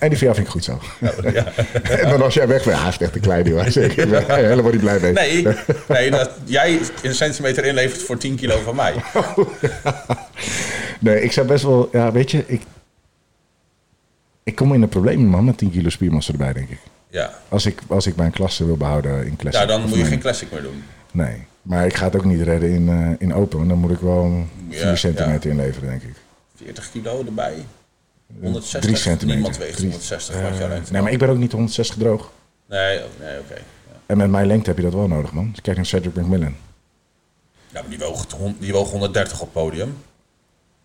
Speaker 1: En die van jou vind ik goed zo. en dan als jij weg bent, ah, is echt een klein hoor. Zeker. Ik ben helemaal niet blij mee.
Speaker 2: Nee, nee dat jij een centimeter inlevert voor 10 kilo van mij.
Speaker 1: Nee, ik zou best wel... Ja, weet je, ik... Ik kom in de problemen, man, met 10 kilo spiermassa erbij, denk ik.
Speaker 2: Ja.
Speaker 1: Als ik, als ik mijn klasse wil behouden in classic.
Speaker 2: Ja, dan
Speaker 1: Of
Speaker 2: moet je
Speaker 1: mijn-
Speaker 2: geen classic meer doen.
Speaker 1: Nee, maar ik ga het ook niet redden in, eh, in open. Want dan moet ik wel 4
Speaker 2: Ja,
Speaker 1: centimeter inleveren, denk ik.
Speaker 2: 40 kilo erbij. 160.
Speaker 1: 3 Eh, centimeter.
Speaker 2: Niemand weegt
Speaker 1: Drie- Eh,
Speaker 2: 160 wat jouw lengte.
Speaker 1: Nee, maar ik ben ook niet 160 droog.
Speaker 2: Nee, ook- nee oké. Ja.
Speaker 1: En met mijn lengte heb je dat wel nodig, man. Dus Kijk naar Cedric McMillan.
Speaker 2: Ja, maar die woog, het hon- die woog 130 op podium.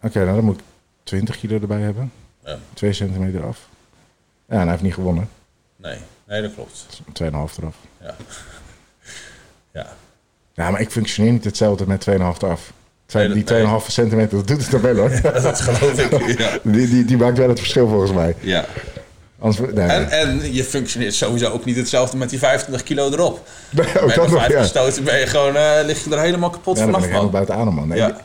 Speaker 1: Oké, nou dan moet ik 20 kilo erbij hebben.
Speaker 2: Ja.
Speaker 1: 2 centimeter af. Ja, en hij heeft niet gewonnen.
Speaker 2: Nee, nee, dat klopt.
Speaker 1: 2,5 eraf.
Speaker 2: Ja. ja.
Speaker 1: Ja, maar ik functioneer niet hetzelfde met 2,5 eraf. Twee,
Speaker 2: Nee, dat-
Speaker 1: die 2,5 centimeter, dat doet het dan wel hoor.
Speaker 2: Dat geloof ik. Ja.
Speaker 1: Die, die, die maakt wel het verschil volgens mij.
Speaker 2: ja.
Speaker 1: Anders, nee,
Speaker 2: En, en je functioneert sowieso ook niet hetzelfde met die 25 kilo erop.
Speaker 1: Nee, ook
Speaker 2: Met
Speaker 1: dat
Speaker 2: een
Speaker 1: nog,
Speaker 2: vijf
Speaker 1: ja.
Speaker 2: gestoten ben je gewoon, eh, lig je er helemaal kapot
Speaker 1: Ja, dan ben ik helemaal
Speaker 2: vanaf, man.
Speaker 1: buiten adem, man. Nee,
Speaker 2: Ja.
Speaker 1: ik-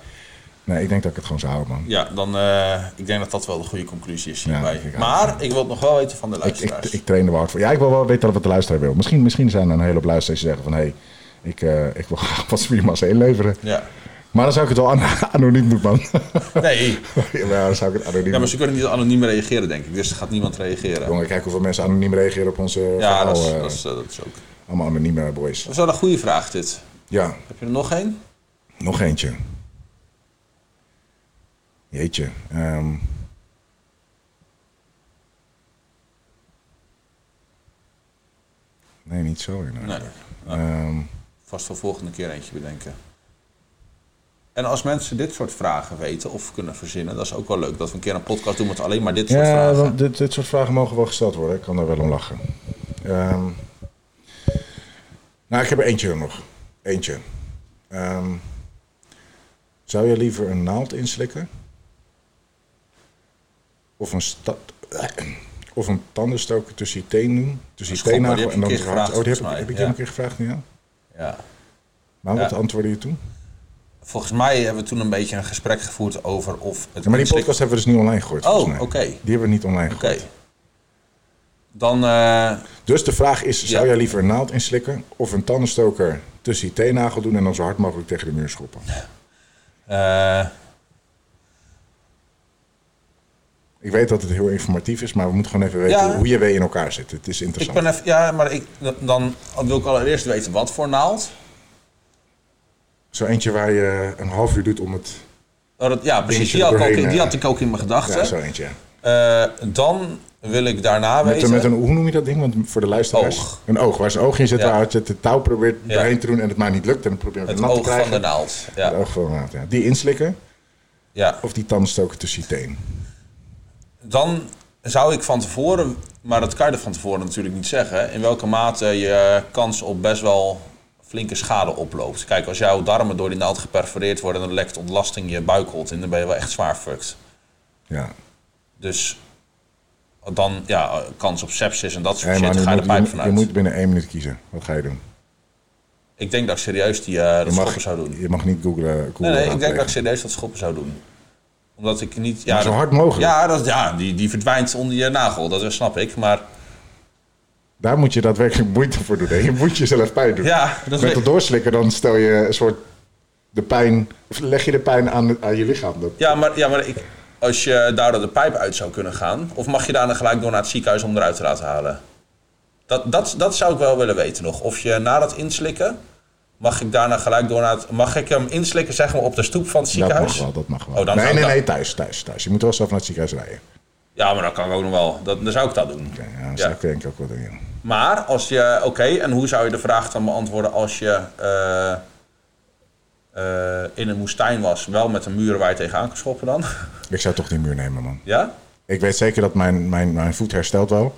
Speaker 1: nee, ik denk dat ik het gewoon zou houden, man.
Speaker 2: Ja, dan, eh, ik denk dat dat wel de goede conclusie is
Speaker 1: Ja,
Speaker 2: hierbij.
Speaker 1: ik ook.
Speaker 2: maar ik wil het nog wel weten van de
Speaker 1: Ik, ik,
Speaker 2: luisteraars.
Speaker 1: ik train er wel hard voor. Ja, ik wil wel weten wat de luisteraar wil. Misschien, misschien zijn er een heleboel luisteraars die zeggen van... hé, hey, ik, eh, ik wil graag wat spiermassa inleveren.
Speaker 2: ja.
Speaker 1: Maar dan zou ik het wel an- anoniem doen, man.
Speaker 2: Nee,
Speaker 1: ja, maar dan zou ik het anoniem
Speaker 2: ja, maar
Speaker 1: doen.
Speaker 2: ze kunnen niet anoniem reageren, denk ik. Dus er gaat niemand reageren.
Speaker 1: Jongen, kijk hoeveel mensen anoniem reageren op onze...
Speaker 2: Ja,
Speaker 1: verhaal,
Speaker 2: dat is,
Speaker 1: eh,
Speaker 2: dat, is, eh, dat is ook.
Speaker 1: Allemaal anonieme boys.
Speaker 2: Dat is wel een goede vraag, dit.
Speaker 1: Ja,
Speaker 2: Heb je er nog één?
Speaker 1: nog eentje. Jeetje. ehm. Nee, niet zo. inderdaad.
Speaker 2: Nee.
Speaker 1: Ehm,
Speaker 2: Vast voor volgende keer eentje bedenken. En als mensen dit soort vragen weten of kunnen verzinnen, dat is ook wel leuk. Dat we een keer een podcast doen met alleen maar dit soort
Speaker 1: ja,
Speaker 2: vragen.
Speaker 1: want dit, dit soort vragen mogen wel gesteld worden. Ik kan daar wel om lachen. Ehm, nou, ik heb er eentje nog. Eentje. Ehm, zou je liever een naald inslikken? Of een, sta- of een tandenstoker tussen je teen doen? Tussen je
Speaker 2: Dat is goed, maar die
Speaker 1: teennagel
Speaker 2: heb
Speaker 1: en
Speaker 2: je
Speaker 1: dan het
Speaker 2: een
Speaker 1: hart?
Speaker 2: keer gevraagd,
Speaker 1: Oh, die heb ik,
Speaker 2: volgens mij,
Speaker 1: heb ik
Speaker 2: ja.
Speaker 1: je een keer gevraagd, ja.
Speaker 2: Ja.
Speaker 1: Maar wat
Speaker 2: Ja.
Speaker 1: antwoordde je toen?
Speaker 2: Volgens mij hebben we toen een beetje een gesprek gevoerd over of het.
Speaker 1: Ja, maar die
Speaker 2: inslik-
Speaker 1: podcast hebben we dus niet online gegooid,
Speaker 2: Oh,
Speaker 1: volgens mij.
Speaker 2: oké.
Speaker 1: Die hebben we niet online
Speaker 2: Oké.
Speaker 1: gegooid.
Speaker 2: Dan. eh,
Speaker 1: Dus de vraag is, zou
Speaker 2: Ja.
Speaker 1: jij liever een naald inslikken of een tandenstoker tussen je teennagel doen en dan zo hard mogelijk tegen de muur schoppen?
Speaker 2: eh,
Speaker 1: Ik weet dat het heel informatief is, maar we moeten gewoon even weten
Speaker 2: Ja.
Speaker 1: hoe je wee in elkaar zit. Het is
Speaker 2: ik
Speaker 1: interessant.
Speaker 2: ben even. Ja, maar ik, dan wil ik allereerst weten wat voor naald.
Speaker 1: Zo eentje waar je een half uur doet om het...
Speaker 2: Oh, dat- ja, precies.
Speaker 1: Dingetje
Speaker 2: Die had, ik ook in-
Speaker 1: doorheen,
Speaker 2: die
Speaker 1: eh.
Speaker 2: had ik ook in mijn
Speaker 1: Ja, zo
Speaker 2: gedachten.
Speaker 1: eentje. ja.
Speaker 2: Eh, dan wil ik daarna
Speaker 1: Met,
Speaker 2: weten.
Speaker 1: een- met een, hoe noem je dat ding? Want voor de luisteraars...
Speaker 2: Oog.
Speaker 1: Een oog. Waar zijn oog in zit,
Speaker 2: Ja.
Speaker 1: waar het het touw probeert
Speaker 2: Ja.
Speaker 1: doorheen te doen en het maar niet lukt. En dan probeer je het,
Speaker 2: het
Speaker 1: nat te
Speaker 2: oog
Speaker 1: krijgen.
Speaker 2: van de naald.
Speaker 1: Het
Speaker 2: Ja.
Speaker 1: oog van de naald, ja. Die inslikken
Speaker 2: ja.
Speaker 1: of die tandenstoker tussen je teen?
Speaker 2: dan zou ik van tevoren, maar dat kan je er van tevoren natuurlijk niet zeggen, in welke mate je kans op best wel flinke schade oploopt. Kijk, als jouw darmen door die naald geperforeerd worden, dan lekt ontlasting je buikholt in, dan ben je wel echt zwaar fucked.
Speaker 1: Ja.
Speaker 2: Dus dan, ja, kans op sepsis en dat soort
Speaker 1: Hey,
Speaker 2: shit,
Speaker 1: man,
Speaker 2: ga je de
Speaker 1: je,
Speaker 2: pijp
Speaker 1: moet, je, moet, je
Speaker 2: vanuit.
Speaker 1: moet binnen één minuut kiezen. Wat ga je doen?
Speaker 2: Ik denk dat ik serieus die, eh, dat
Speaker 1: Je mag,
Speaker 2: schoppen zou doen.
Speaker 1: je mag niet eh, googlen.
Speaker 2: Nee,
Speaker 1: googlen
Speaker 2: nee, ik denk
Speaker 1: raadplegen.
Speaker 2: dat ik serieus dat schoppen zou doen. Omdat ik niet... Ja,
Speaker 1: zo
Speaker 2: dat-
Speaker 1: hard mogelijk.
Speaker 2: Ja, dat, ja die, die verdwijnt onder je nagel, dat snap ik, maar...
Speaker 1: Daar moet je daadwerkelijk moeite voor doen. hè. Je moet jezelf pijn doen.
Speaker 2: Ja, dat
Speaker 1: Met
Speaker 2: weet-
Speaker 1: het doorslikken dan stel je een soort de pijn, of leg je de pijn aan, aan je lichaam. Dat,
Speaker 2: Ja, maar, ja, maar ik, als je daardoor de pijp uit zou kunnen gaan, of mag je daarna gelijk door naar het ziekenhuis om eruit te laten halen? Dat, dat, dat zou ik wel willen weten nog. Of je na dat inslikken, mag ik daarna gelijk door naar het. Mag ik hem inslikken, zeg maar, op de stoep van het
Speaker 1: dat
Speaker 2: ziekenhuis?
Speaker 1: mag wel, dat mag wel.
Speaker 2: Oh, dan
Speaker 1: nee,
Speaker 2: zou ik
Speaker 1: nee,
Speaker 2: dat-
Speaker 1: nee, thuis, thuis, thuis. Je moet wel zelf naar het ziekenhuis rijden.
Speaker 2: Ja, maar dat kan ik ook nog wel. Dat, dan zou ik dat doen.
Speaker 1: Ja, ja, dat
Speaker 2: Ja.
Speaker 1: zou ik denk ik ook wel doen, ja.
Speaker 2: Maar als je. Oké, en hoe zou je de vraag dan beantwoorden als je. eh, eh, in een woestijn was, wel met een muur waar je tegenaan kan schoppen dan?
Speaker 1: Ik zou toch die muur nemen, man.
Speaker 2: ja?
Speaker 1: Ik weet zeker dat mijn, mijn, mijn voet herstelt wel.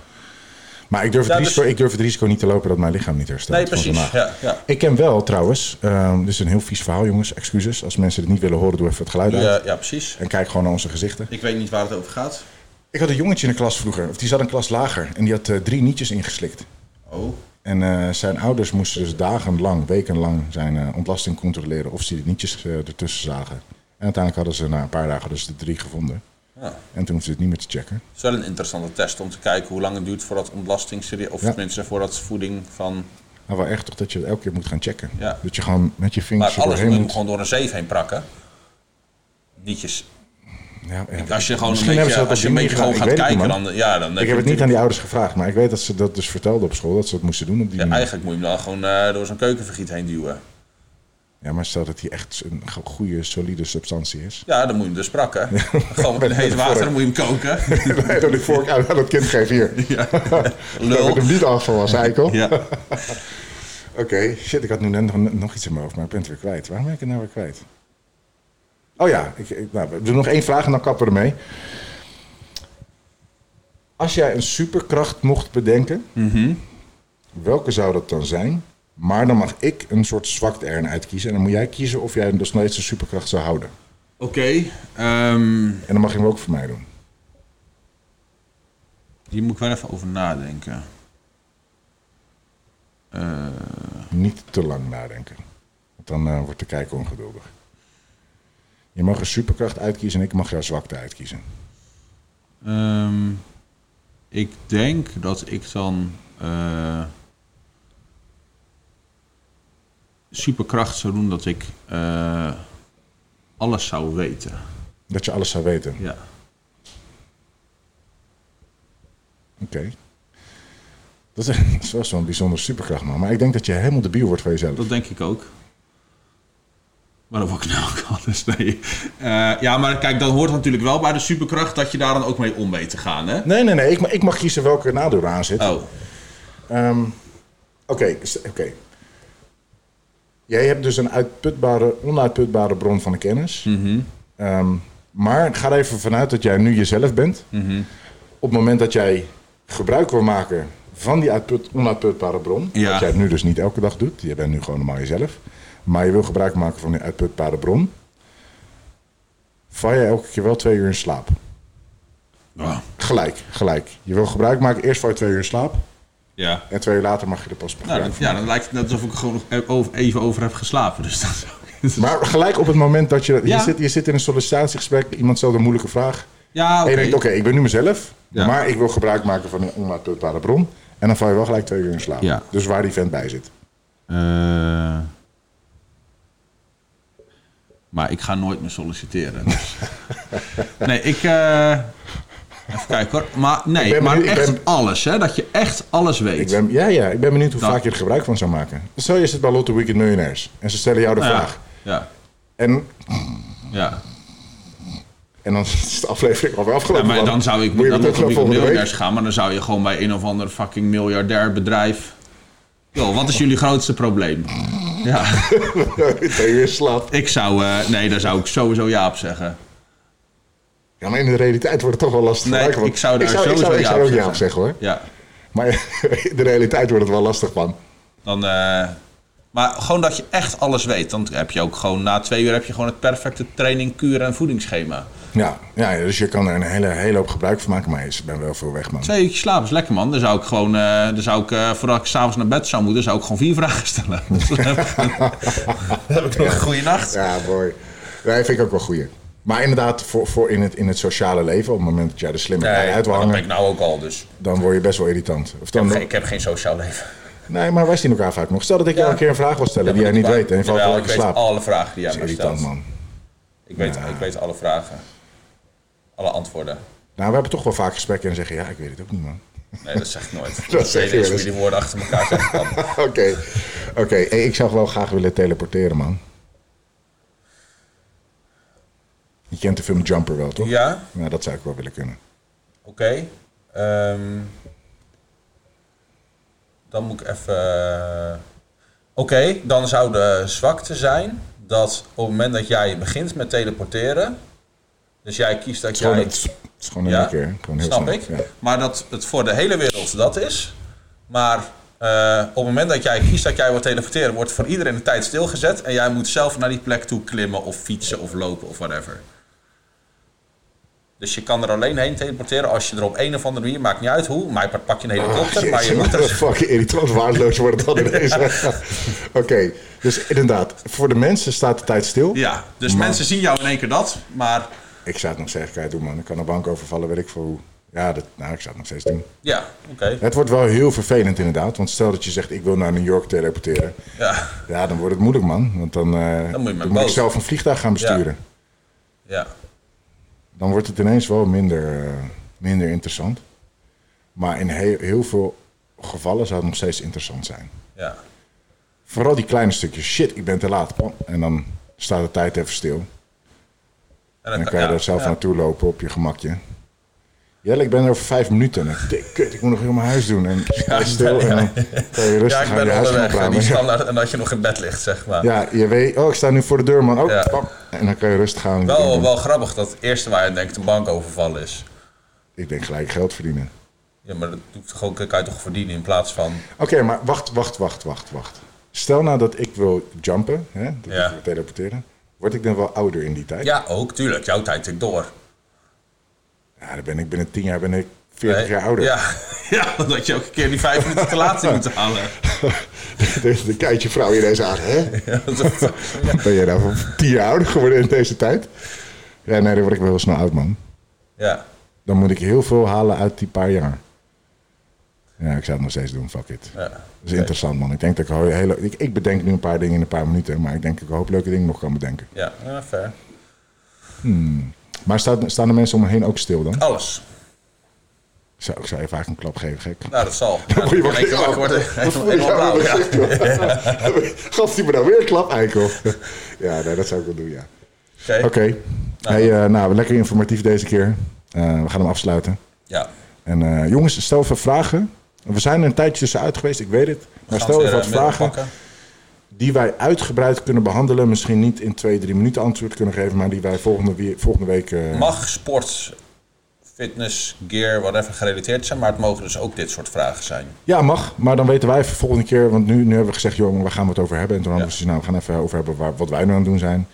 Speaker 1: Maar ik durf, het
Speaker 2: Ja, dus-
Speaker 1: risico, ik durf het risico niet te lopen dat mijn lichaam niet herstelt.
Speaker 2: Nee,
Speaker 1: van zijn
Speaker 2: precies.
Speaker 1: maag.
Speaker 2: Ja, ja.
Speaker 1: Ik ken wel trouwens, ehm, dit is een heel vies verhaal jongens, excuses. Als mensen dit niet willen horen, doe even het geluid uit.
Speaker 2: Ja, ja, precies.
Speaker 1: En kijk gewoon naar onze gezichten.
Speaker 2: Ik weet niet waar het over gaat.
Speaker 1: Ik had een jongetje in de klas vroeger, of die zat een klas lager. En die had eh, drie nietjes ingeslikt.
Speaker 2: Oh.
Speaker 1: En eh, zijn ouders moesten dus dagenlang, wekenlang zijn eh, ontlasting controleren of ze die nietjes eh, ertussen zagen. En uiteindelijk hadden ze na een paar dagen dus de drie gevonden.
Speaker 2: Ja.
Speaker 1: En toen hoefden ze het niet meer te checken.
Speaker 2: Het is wel een interessante test om te kijken hoe lang het duurt voordat ontlasting, serie- of
Speaker 1: Ja.
Speaker 2: tenminste voordat voeding van...
Speaker 1: Maar wel echt toch dat je het elke keer moet gaan checken.
Speaker 2: Ja.
Speaker 1: Dat je gewoon met je vingers
Speaker 2: Maar
Speaker 1: er
Speaker 2: alles moet
Speaker 1: doorheen moet.
Speaker 2: gewoon door een zeef heen prakken. Nietjes.
Speaker 1: Ja, ja.
Speaker 2: Als je gewoon
Speaker 1: Misschien hebben ze
Speaker 2: een beetje,
Speaker 1: dat
Speaker 2: als je een
Speaker 1: op die
Speaker 2: beetje
Speaker 1: manier
Speaker 2: gewoon gaat
Speaker 1: gedaan. Ik weet
Speaker 2: kijken,
Speaker 1: het niet, man.
Speaker 2: dan, ja, dan
Speaker 1: Ik heb het niet aan die ouders gevraagd, maar ik weet dat ze dat dus vertelden op school. Dat ze dat moesten doen op die
Speaker 2: Ja,
Speaker 1: manier.
Speaker 2: eigenlijk moet je hem dan gewoon eh, door zo'n keukenvergiet heen duwen.
Speaker 1: Ja, maar stel dat die echt een go- goede, solide substantie is.
Speaker 2: Ja, dan moet je hem dus prakken. gewoon met
Speaker 1: met
Speaker 2: heet
Speaker 1: de
Speaker 2: water,
Speaker 1: vork.
Speaker 2: dan moet je hem koken.
Speaker 1: Nee, door die vork aan aan dat kind geef hier.
Speaker 2: ja.
Speaker 1: Dat heb ik
Speaker 2: Lul.
Speaker 1: hem niet afgewassen, eikel.
Speaker 2: Ja.
Speaker 1: Oké, shit, ik had nu net nog, nog iets in mijn hoofd, maar ik ben het weer kwijt. Waarom ben ik het nou weer kwijt? Oh ja, ik, ik, nou, we doen nog één vraag en dan kappen we ermee. Als jij een superkracht mocht bedenken, welke zou dat dan zijn? Maar dan mag ik een soort zwakte erin uitkiezen. En dan moet jij kiezen of jij dus nog steeds een superkracht zou houden.
Speaker 2: Oké. ehm,
Speaker 1: En dan mag je hem ook voor mij doen.
Speaker 3: Die moet ik wel even over nadenken. Eh,
Speaker 1: Niet te lang nadenken. Want dan eh, wordt de kijker ongeduldig. Je mag een superkracht uitkiezen en ik mag jouw zwakte uitkiezen.
Speaker 3: ehm, ik denk dat ik dan eh, superkracht zou doen dat ik eh, alles zou weten.
Speaker 1: Dat je alles zou weten.
Speaker 3: Ja.
Speaker 1: Oké. Dat is, dat is wel zo'n bijzonder superkracht, man. Maar ik denk dat je helemaal debiel wordt van jezelf.
Speaker 3: Dat denk ik ook. Maar dat word ik nou ook anders. Nee. Eh, ja, maar kijk, dat hoort natuurlijk wel bij de superkracht dat je daar dan ook mee om weet te gaan. Hè?
Speaker 1: Nee, nee, nee. Ik, ma- ik mag kiezen welke nadeel er aan zit.
Speaker 3: Oh,
Speaker 1: Ehm, Oké, s- oké. Jij hebt dus een uitputbare, onuitputbare bron van de kennis.
Speaker 3: Mhm.
Speaker 1: Ehm, maar ga er even vanuit dat jij nu jezelf bent.
Speaker 3: Mhm.
Speaker 1: Op het moment dat jij gebruik wil maken van die uitput, onuitputbare bron,
Speaker 3: Ja.
Speaker 1: wat jij nu dus niet elke dag doet, je bent nu gewoon normaal jezelf, maar je wil gebruik maken van die uitputbare bron, val je elke keer wel twee uur in slaap.
Speaker 3: Ja.
Speaker 1: Gelijk, gelijk. Je wil gebruik maken, eerst val je twee uur in slaap
Speaker 3: ja.
Speaker 1: en twee uur later mag je er pas
Speaker 3: Nou,
Speaker 1: gebruik
Speaker 3: dan,
Speaker 1: van
Speaker 3: ja, dan lijkt het net alsof ik er gewoon nog e- over- even over heb geslapen. Dus dat is ook...
Speaker 1: Maar gelijk op het moment dat je...
Speaker 3: Ja.
Speaker 1: Je, zit, je zit in een sollicitatiegesprek, iemand stelt een moeilijke vraag.
Speaker 3: ja,
Speaker 1: En
Speaker 3: oké.
Speaker 1: je denkt, oké, ik ben nu mezelf,
Speaker 3: Ja.
Speaker 1: maar ik wil gebruik maken van een onuitputbare bron. En dan val je wel gelijk twee uur in slaap.
Speaker 3: Ja.
Speaker 1: Dus waar die vent bij zit.
Speaker 3: Eh, maar ik ga nooit meer solliciteren. dus. nee, ik... eh, even kijken hoor. Maar nee,
Speaker 1: Ik ben
Speaker 3: maar
Speaker 1: benieuwd- ik
Speaker 3: echt
Speaker 1: ben-
Speaker 3: alles. Hè? Dat je echt alles weet.
Speaker 1: Ik ben, ja, ja, ik ben benieuwd hoe
Speaker 3: Nou.
Speaker 1: vaak je er gebruik van zou maken. Stel, je zit bij Lotto Weekend Millionaires en ze stellen jou de
Speaker 3: ja.
Speaker 1: vraag.
Speaker 3: Ja.
Speaker 1: En,
Speaker 3: ja.
Speaker 1: en dan is de aflevering alweer
Speaker 3: Ja,
Speaker 1: afgelopen.
Speaker 3: maar
Speaker 1: want
Speaker 3: dan zou ik
Speaker 1: moet je
Speaker 3: niet naar
Speaker 1: dat ook
Speaker 3: de
Speaker 1: nog volgende week?
Speaker 3: miljardairs gaan, maar dan zou je gewoon bij een of ander fucking miljardair bedrijf. Yo, wat is jullie grootste probleem? Ja,
Speaker 1: Twee uur in slaap.
Speaker 3: ik zou. eh, nee, daar zou ik sowieso ja op zeggen.
Speaker 1: Ja, maar in de realiteit wordt het toch wel lastig.
Speaker 3: Nee,
Speaker 1: gebruiken, want
Speaker 3: ik zou daar
Speaker 1: ik zou, ik
Speaker 3: sowieso
Speaker 1: zou, ik
Speaker 3: ja
Speaker 1: zou
Speaker 3: op
Speaker 1: ook ja op
Speaker 3: zeggen.
Speaker 1: zeggen hoor.
Speaker 3: Ja,
Speaker 1: Maar in de realiteit wordt het wel lastig, man.
Speaker 3: dan. eh, maar gewoon dat je echt alles weet. Dan heb je ook gewoon na twee uur heb je gewoon het perfecte training, kuur en voedingsschema.
Speaker 1: Ja, ja, dus je kan er een hele, hele hoop gebruik van maken, maar ik ben wel veel weg, man.
Speaker 3: Twee uurtjes slapen is lekker, man. Dan zou ik gewoon. eh, dan zou ik, eh, voordat ik s'avonds naar bed zou moeten, zou ik gewoon vier vragen stellen. heb ik nog een goede nacht.
Speaker 1: Ja, mooi. Nee, vind ik ook wel goeie. Maar inderdaad, voor, voor in, het, in het sociale leven, op het moment dat jij de slimme
Speaker 2: Nee,
Speaker 1: nee, uit wil
Speaker 3: Maar Dat ben
Speaker 1: hangen,
Speaker 3: ik nou ook al, dus.
Speaker 1: dan word je best wel irritant. Of dan,
Speaker 2: Geen- Ik heb geen sociaal leven.
Speaker 1: nee, maar wij zien elkaar vaak nog. Stel dat ik jou
Speaker 2: Ja.
Speaker 1: een keer een vraag wil stellen
Speaker 2: Ja,
Speaker 1: die jij
Speaker 2: maar
Speaker 1: niet
Speaker 2: dat-
Speaker 1: weet en je valt
Speaker 2: Jawel,
Speaker 1: gelijk in
Speaker 2: Ik
Speaker 1: slaap.
Speaker 2: weet alle vragen die
Speaker 1: Dat
Speaker 2: jij
Speaker 1: is
Speaker 2: mij
Speaker 1: irritant,
Speaker 2: stelt.
Speaker 1: man.
Speaker 2: Ik weet, ik weet alle vragen. Alle antwoorden.
Speaker 1: Nou, we hebben toch wel vaak gesprekken en zeggen, ja, ik weet het ook niet, man.
Speaker 2: Nee, dat zeg ik nooit. dat
Speaker 1: zeg je
Speaker 2: weet niet
Speaker 1: wel
Speaker 2: hoe
Speaker 1: eens.
Speaker 2: je die woorden achter elkaar zeggen kan.
Speaker 1: Oké, oké. Hey, ik zou wel graag willen teleporteren, man. Je kent de film Jumper wel, toch?
Speaker 2: Ja,
Speaker 1: Nou, dat zou ik wel willen kunnen.
Speaker 2: oké. Ehm, dan moet ik even... Oké, dan zou de zwakte zijn dat op het moment dat jij begint met teleporteren... Dus jij kiest dat
Speaker 1: Gewoon,
Speaker 2: jij...
Speaker 1: het, het is gewoon in
Speaker 2: Ja,
Speaker 1: één keer. Gewoon heel
Speaker 2: Snap
Speaker 1: snel.
Speaker 2: ik.
Speaker 1: Ja.
Speaker 2: Maar dat het voor de hele wereld dat is. Maar eh, op het moment dat jij kiest dat jij wil teleporteren, wordt voor iedereen de tijd stilgezet. En jij moet zelf naar die plek toe klimmen of fietsen of lopen of whatever. Dus je kan er alleen heen teleporteren als je er op een of andere manier, maakt niet uit hoe, maar je pak je een helikopter,
Speaker 1: Oh, Jeetje,
Speaker 2: maar je moet
Speaker 1: wat
Speaker 2: er...
Speaker 1: fucking irritant waardeloos worden dan ineens. Oké, dus inderdaad, voor de mensen staat de tijd stil.
Speaker 3: Ja, dus
Speaker 1: Maar-
Speaker 3: mensen zien jou in één keer dat, maar
Speaker 1: Ik zou het nog steeds kwijt doen, man. Ik kan een bank overvallen, weet ik veel hoe. Ja, dat, nou, ik zou het nog steeds doen.
Speaker 2: Ja, oké.
Speaker 1: Het wordt wel heel vervelend inderdaad, want stel dat je zegt ik wil naar New York teleporteren.
Speaker 2: Ja,
Speaker 1: Ja, dan wordt het moeilijk, man. Want dan, eh,
Speaker 2: Dan moet je met
Speaker 1: ik
Speaker 2: boot.
Speaker 1: zelf een vliegtuig gaan besturen.
Speaker 2: ja.
Speaker 1: Dan wordt het ineens wel minder, eh, minder interessant. Maar in heel, heel veel gevallen zou het nog steeds interessant zijn.
Speaker 2: ja.
Speaker 1: Vooral die kleine stukjes. Shit, ik ben te laat. Pam. En dan staat de tijd even stil.
Speaker 2: En
Speaker 1: Dan kan je
Speaker 2: ja,
Speaker 1: daar zelf
Speaker 2: ja.
Speaker 1: naartoe lopen op je gemakje. Jelle, ik ben er over vijf minuten. En ik denk, kut, ik moet nog heel mijn huis doen. En sta je stil en dan kan je
Speaker 2: Ja,
Speaker 1: rustig
Speaker 2: ik
Speaker 1: aan je
Speaker 2: ben
Speaker 1: huis gaan
Speaker 2: onderweg en die
Speaker 1: praten.
Speaker 2: standaard en dat je nog in bed ligt, zeg maar.
Speaker 1: Ja, je weet, oh, ik sta nu voor de deur, man. Oh,
Speaker 2: Ja.
Speaker 1: pam. En dan kan je rustig gaan.
Speaker 2: Wel, wel grappig dat het eerste waar je aan denkt een bankoverval is.
Speaker 1: Ik denk gelijk geld verdienen.
Speaker 2: Ja, maar dat doe ik toch ook, kan je toch verdienen in plaats van...
Speaker 1: Oké, maar wacht, wacht, wacht, wacht, wacht. Stel nou dat ik wil jumpen, hè, dat
Speaker 2: Ja.
Speaker 1: ik wil teleporteren. Word ik dan wel ouder in die tijd?
Speaker 2: Ja, ook, tuurlijk. Jouw tijd tikt door.
Speaker 1: Nou, Ja, dan ben ik binnen tien jaar ben ik 40
Speaker 2: Nee.
Speaker 1: jaar ouder.
Speaker 2: Ja,
Speaker 3: Ja, dat je elke keer die vijf minuten te laat moet halen.
Speaker 1: Dus dan kijkt je vrouw ineens aan. Hè?
Speaker 2: dat-
Speaker 1: Ben je nou van 10 jaar ouder geworden in deze tijd? Ja, nee, dan word ik wel heel snel oud, man.
Speaker 2: ja.
Speaker 1: Dan moet ik heel veel halen uit die paar jaar. Ja, ik zou het nog steeds doen, fuck it.
Speaker 2: ja.
Speaker 1: Dat is interessant, man. Ik denk dat ik al hele... Ik, ik bedenk nu een paar dingen in een paar minuten, maar ik denk dat ik een hoop leuke dingen nog kan bedenken.
Speaker 2: Ja, ja, fair.
Speaker 1: Maar staat, staan de mensen om me heen ook stil dan?
Speaker 2: Alles.
Speaker 1: Ik zou, ik zou je vaak een klap geven, gek.
Speaker 2: Nou, dat zal. Ja,
Speaker 1: Word Oh, je
Speaker 2: ik denk, ik word er helemaal helemaal blauw, ja.
Speaker 1: Gast die me nou weer een klap eikel. Ja, nee, dat zou ik wel doen, ja.
Speaker 2: Oké.
Speaker 1: Oké. Hey, eh, nou, lekker informatief deze keer. Eh, we gaan hem afsluiten.
Speaker 2: Ja.
Speaker 1: En eh, jongens, stel even vragen. We zijn er een tijdje tussenuit geweest, ik weet het. Maar
Speaker 2: Gaan we
Speaker 1: stel
Speaker 2: weer,
Speaker 1: even wat
Speaker 2: eh, middel
Speaker 1: vragen
Speaker 2: pakken.
Speaker 1: die wij uitgebreid kunnen behandelen. Misschien niet in twee, drie minuten antwoord kunnen geven, maar die wij volgende, wie- volgende week... eh,
Speaker 2: Mag sport, fitness, gear, whatever gerelateerd zijn, maar het mogen dus ook dit soort vragen zijn.
Speaker 1: Ja, mag. Maar dan weten wij voor volgende keer. Want nu, nu hebben we gezegd, joh, waar gaan we het over hebben? En toen hadden we gezegd, nou, we gaan even over hebben waar, wat wij nu aan het doen zijn.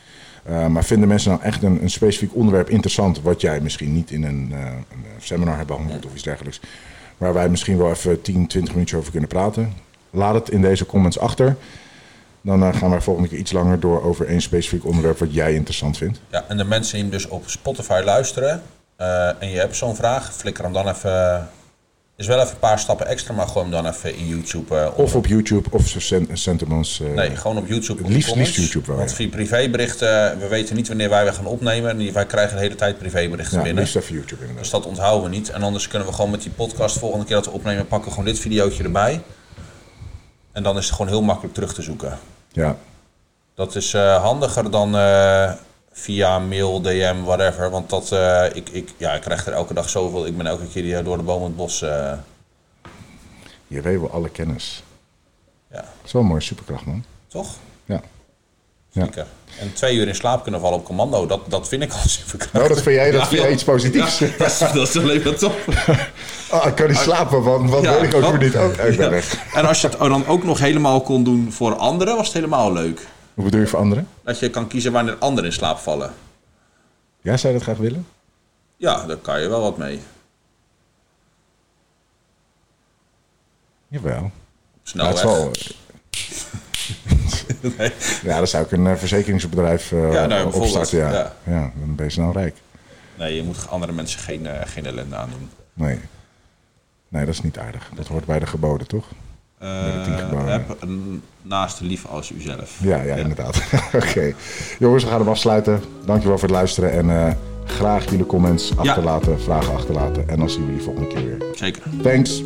Speaker 1: Eh, maar vinden mensen nou echt een, een specifiek onderwerp interessant, wat jij misschien niet in een, eh, een seminar hebt behandeld of iets dergelijks, waar wij misschien wel even 10, 20 minuutjes over kunnen praten? Laat het in deze comments achter. Dan eh, gaan wij volgende keer iets langer door over één specifiek onderwerp wat jij interessant vindt.
Speaker 2: Ja, en de mensen die hem dus op Spotify luisteren eh, en je hebt zo'n vraag, flikker hem dan even. Is wel even een paar stappen extra, maar gooi hem dan even in YouTube. eh, onder.
Speaker 1: Of op YouTube, of zo sen- sentiments. eh,
Speaker 2: Nee, gewoon op YouTube. op de
Speaker 1: Liefst-
Speaker 2: comments.
Speaker 1: liefst YouTube wel,
Speaker 2: Want
Speaker 1: ja.
Speaker 2: via privéberichten, eh, we weten niet wanneer wij weer gaan opnemen. En wij krijgen de hele tijd privéberichten
Speaker 1: ja,
Speaker 2: binnen.
Speaker 1: liefst even YouTube inderdaad.
Speaker 2: Dus dat onthouden we niet. En anders kunnen we gewoon met die podcast volgende keer dat we opnemen, pakken we gewoon dit videootje erbij. En dan is het gewoon heel makkelijk terug te zoeken.
Speaker 1: Ja,
Speaker 2: Dat is eh, handiger dan eh, via mail, DM, whatever. Want dat, eh, ik, ik, ja, ik krijg er elke dag zoveel. Ik ben elke keer die, eh, door de boom het bos. eh,
Speaker 1: je weet wel alle kennis.
Speaker 2: ja,
Speaker 1: Dat is wel een mooie superkracht, man.
Speaker 2: toch?
Speaker 1: Ja.
Speaker 2: Zeker. En twee uur in slaap kunnen vallen op commando, dat, dat vind ik al superkracht.
Speaker 1: Nou, dat vind jij, dat
Speaker 3: Ja,
Speaker 1: vind jij
Speaker 3: joh.
Speaker 1: iets positiefs.
Speaker 3: Ja, dat, is, dat is alleen maar top.
Speaker 1: Ah, ik kan niet slapen, want wat
Speaker 3: Ja,
Speaker 1: weet ik ook
Speaker 3: wat?
Speaker 1: weer niet. Oh, ik ben
Speaker 3: Ja.
Speaker 1: weg.
Speaker 3: En als je het dan ook nog helemaal kon doen voor anderen, was het helemaal leuk.
Speaker 1: Hoe bedoel je voor anderen?
Speaker 3: Dat je kan kiezen wanneer anderen in slaap vallen.
Speaker 1: Jij zou dat graag willen?
Speaker 3: Ja, daar kan je wel wat mee. Nou,
Speaker 1: Jawel.
Speaker 3: Snel
Speaker 1: dat
Speaker 3: weg.
Speaker 1: is wel-
Speaker 3: Nee.
Speaker 1: ja, dan zou ik een eh, verzekeringsbedrijf eh,
Speaker 3: Ja, nou, bijvoorbeeld,
Speaker 1: opstarten. Ja. Ja.
Speaker 3: ja.
Speaker 1: dan ben je snel rijk.
Speaker 3: nee, je moet andere mensen geen, eh, geen ellende aandoen.
Speaker 1: Nee. Nee, dat is niet aardig. Dat hoort bij de geboden, toch? de tien
Speaker 3: Eh
Speaker 1: geboden.
Speaker 3: heb een naaste lief als uzelf.
Speaker 1: Oh, Ja, ja, inderdaad. Oké. Jongens, we gaan hem afsluiten. Dankjewel voor het luisteren. En eh, graag jullie comments achterlaten, vragen achterlaten. En dan zien we jullie volgende keer weer.
Speaker 3: Zeker.
Speaker 1: Thanks.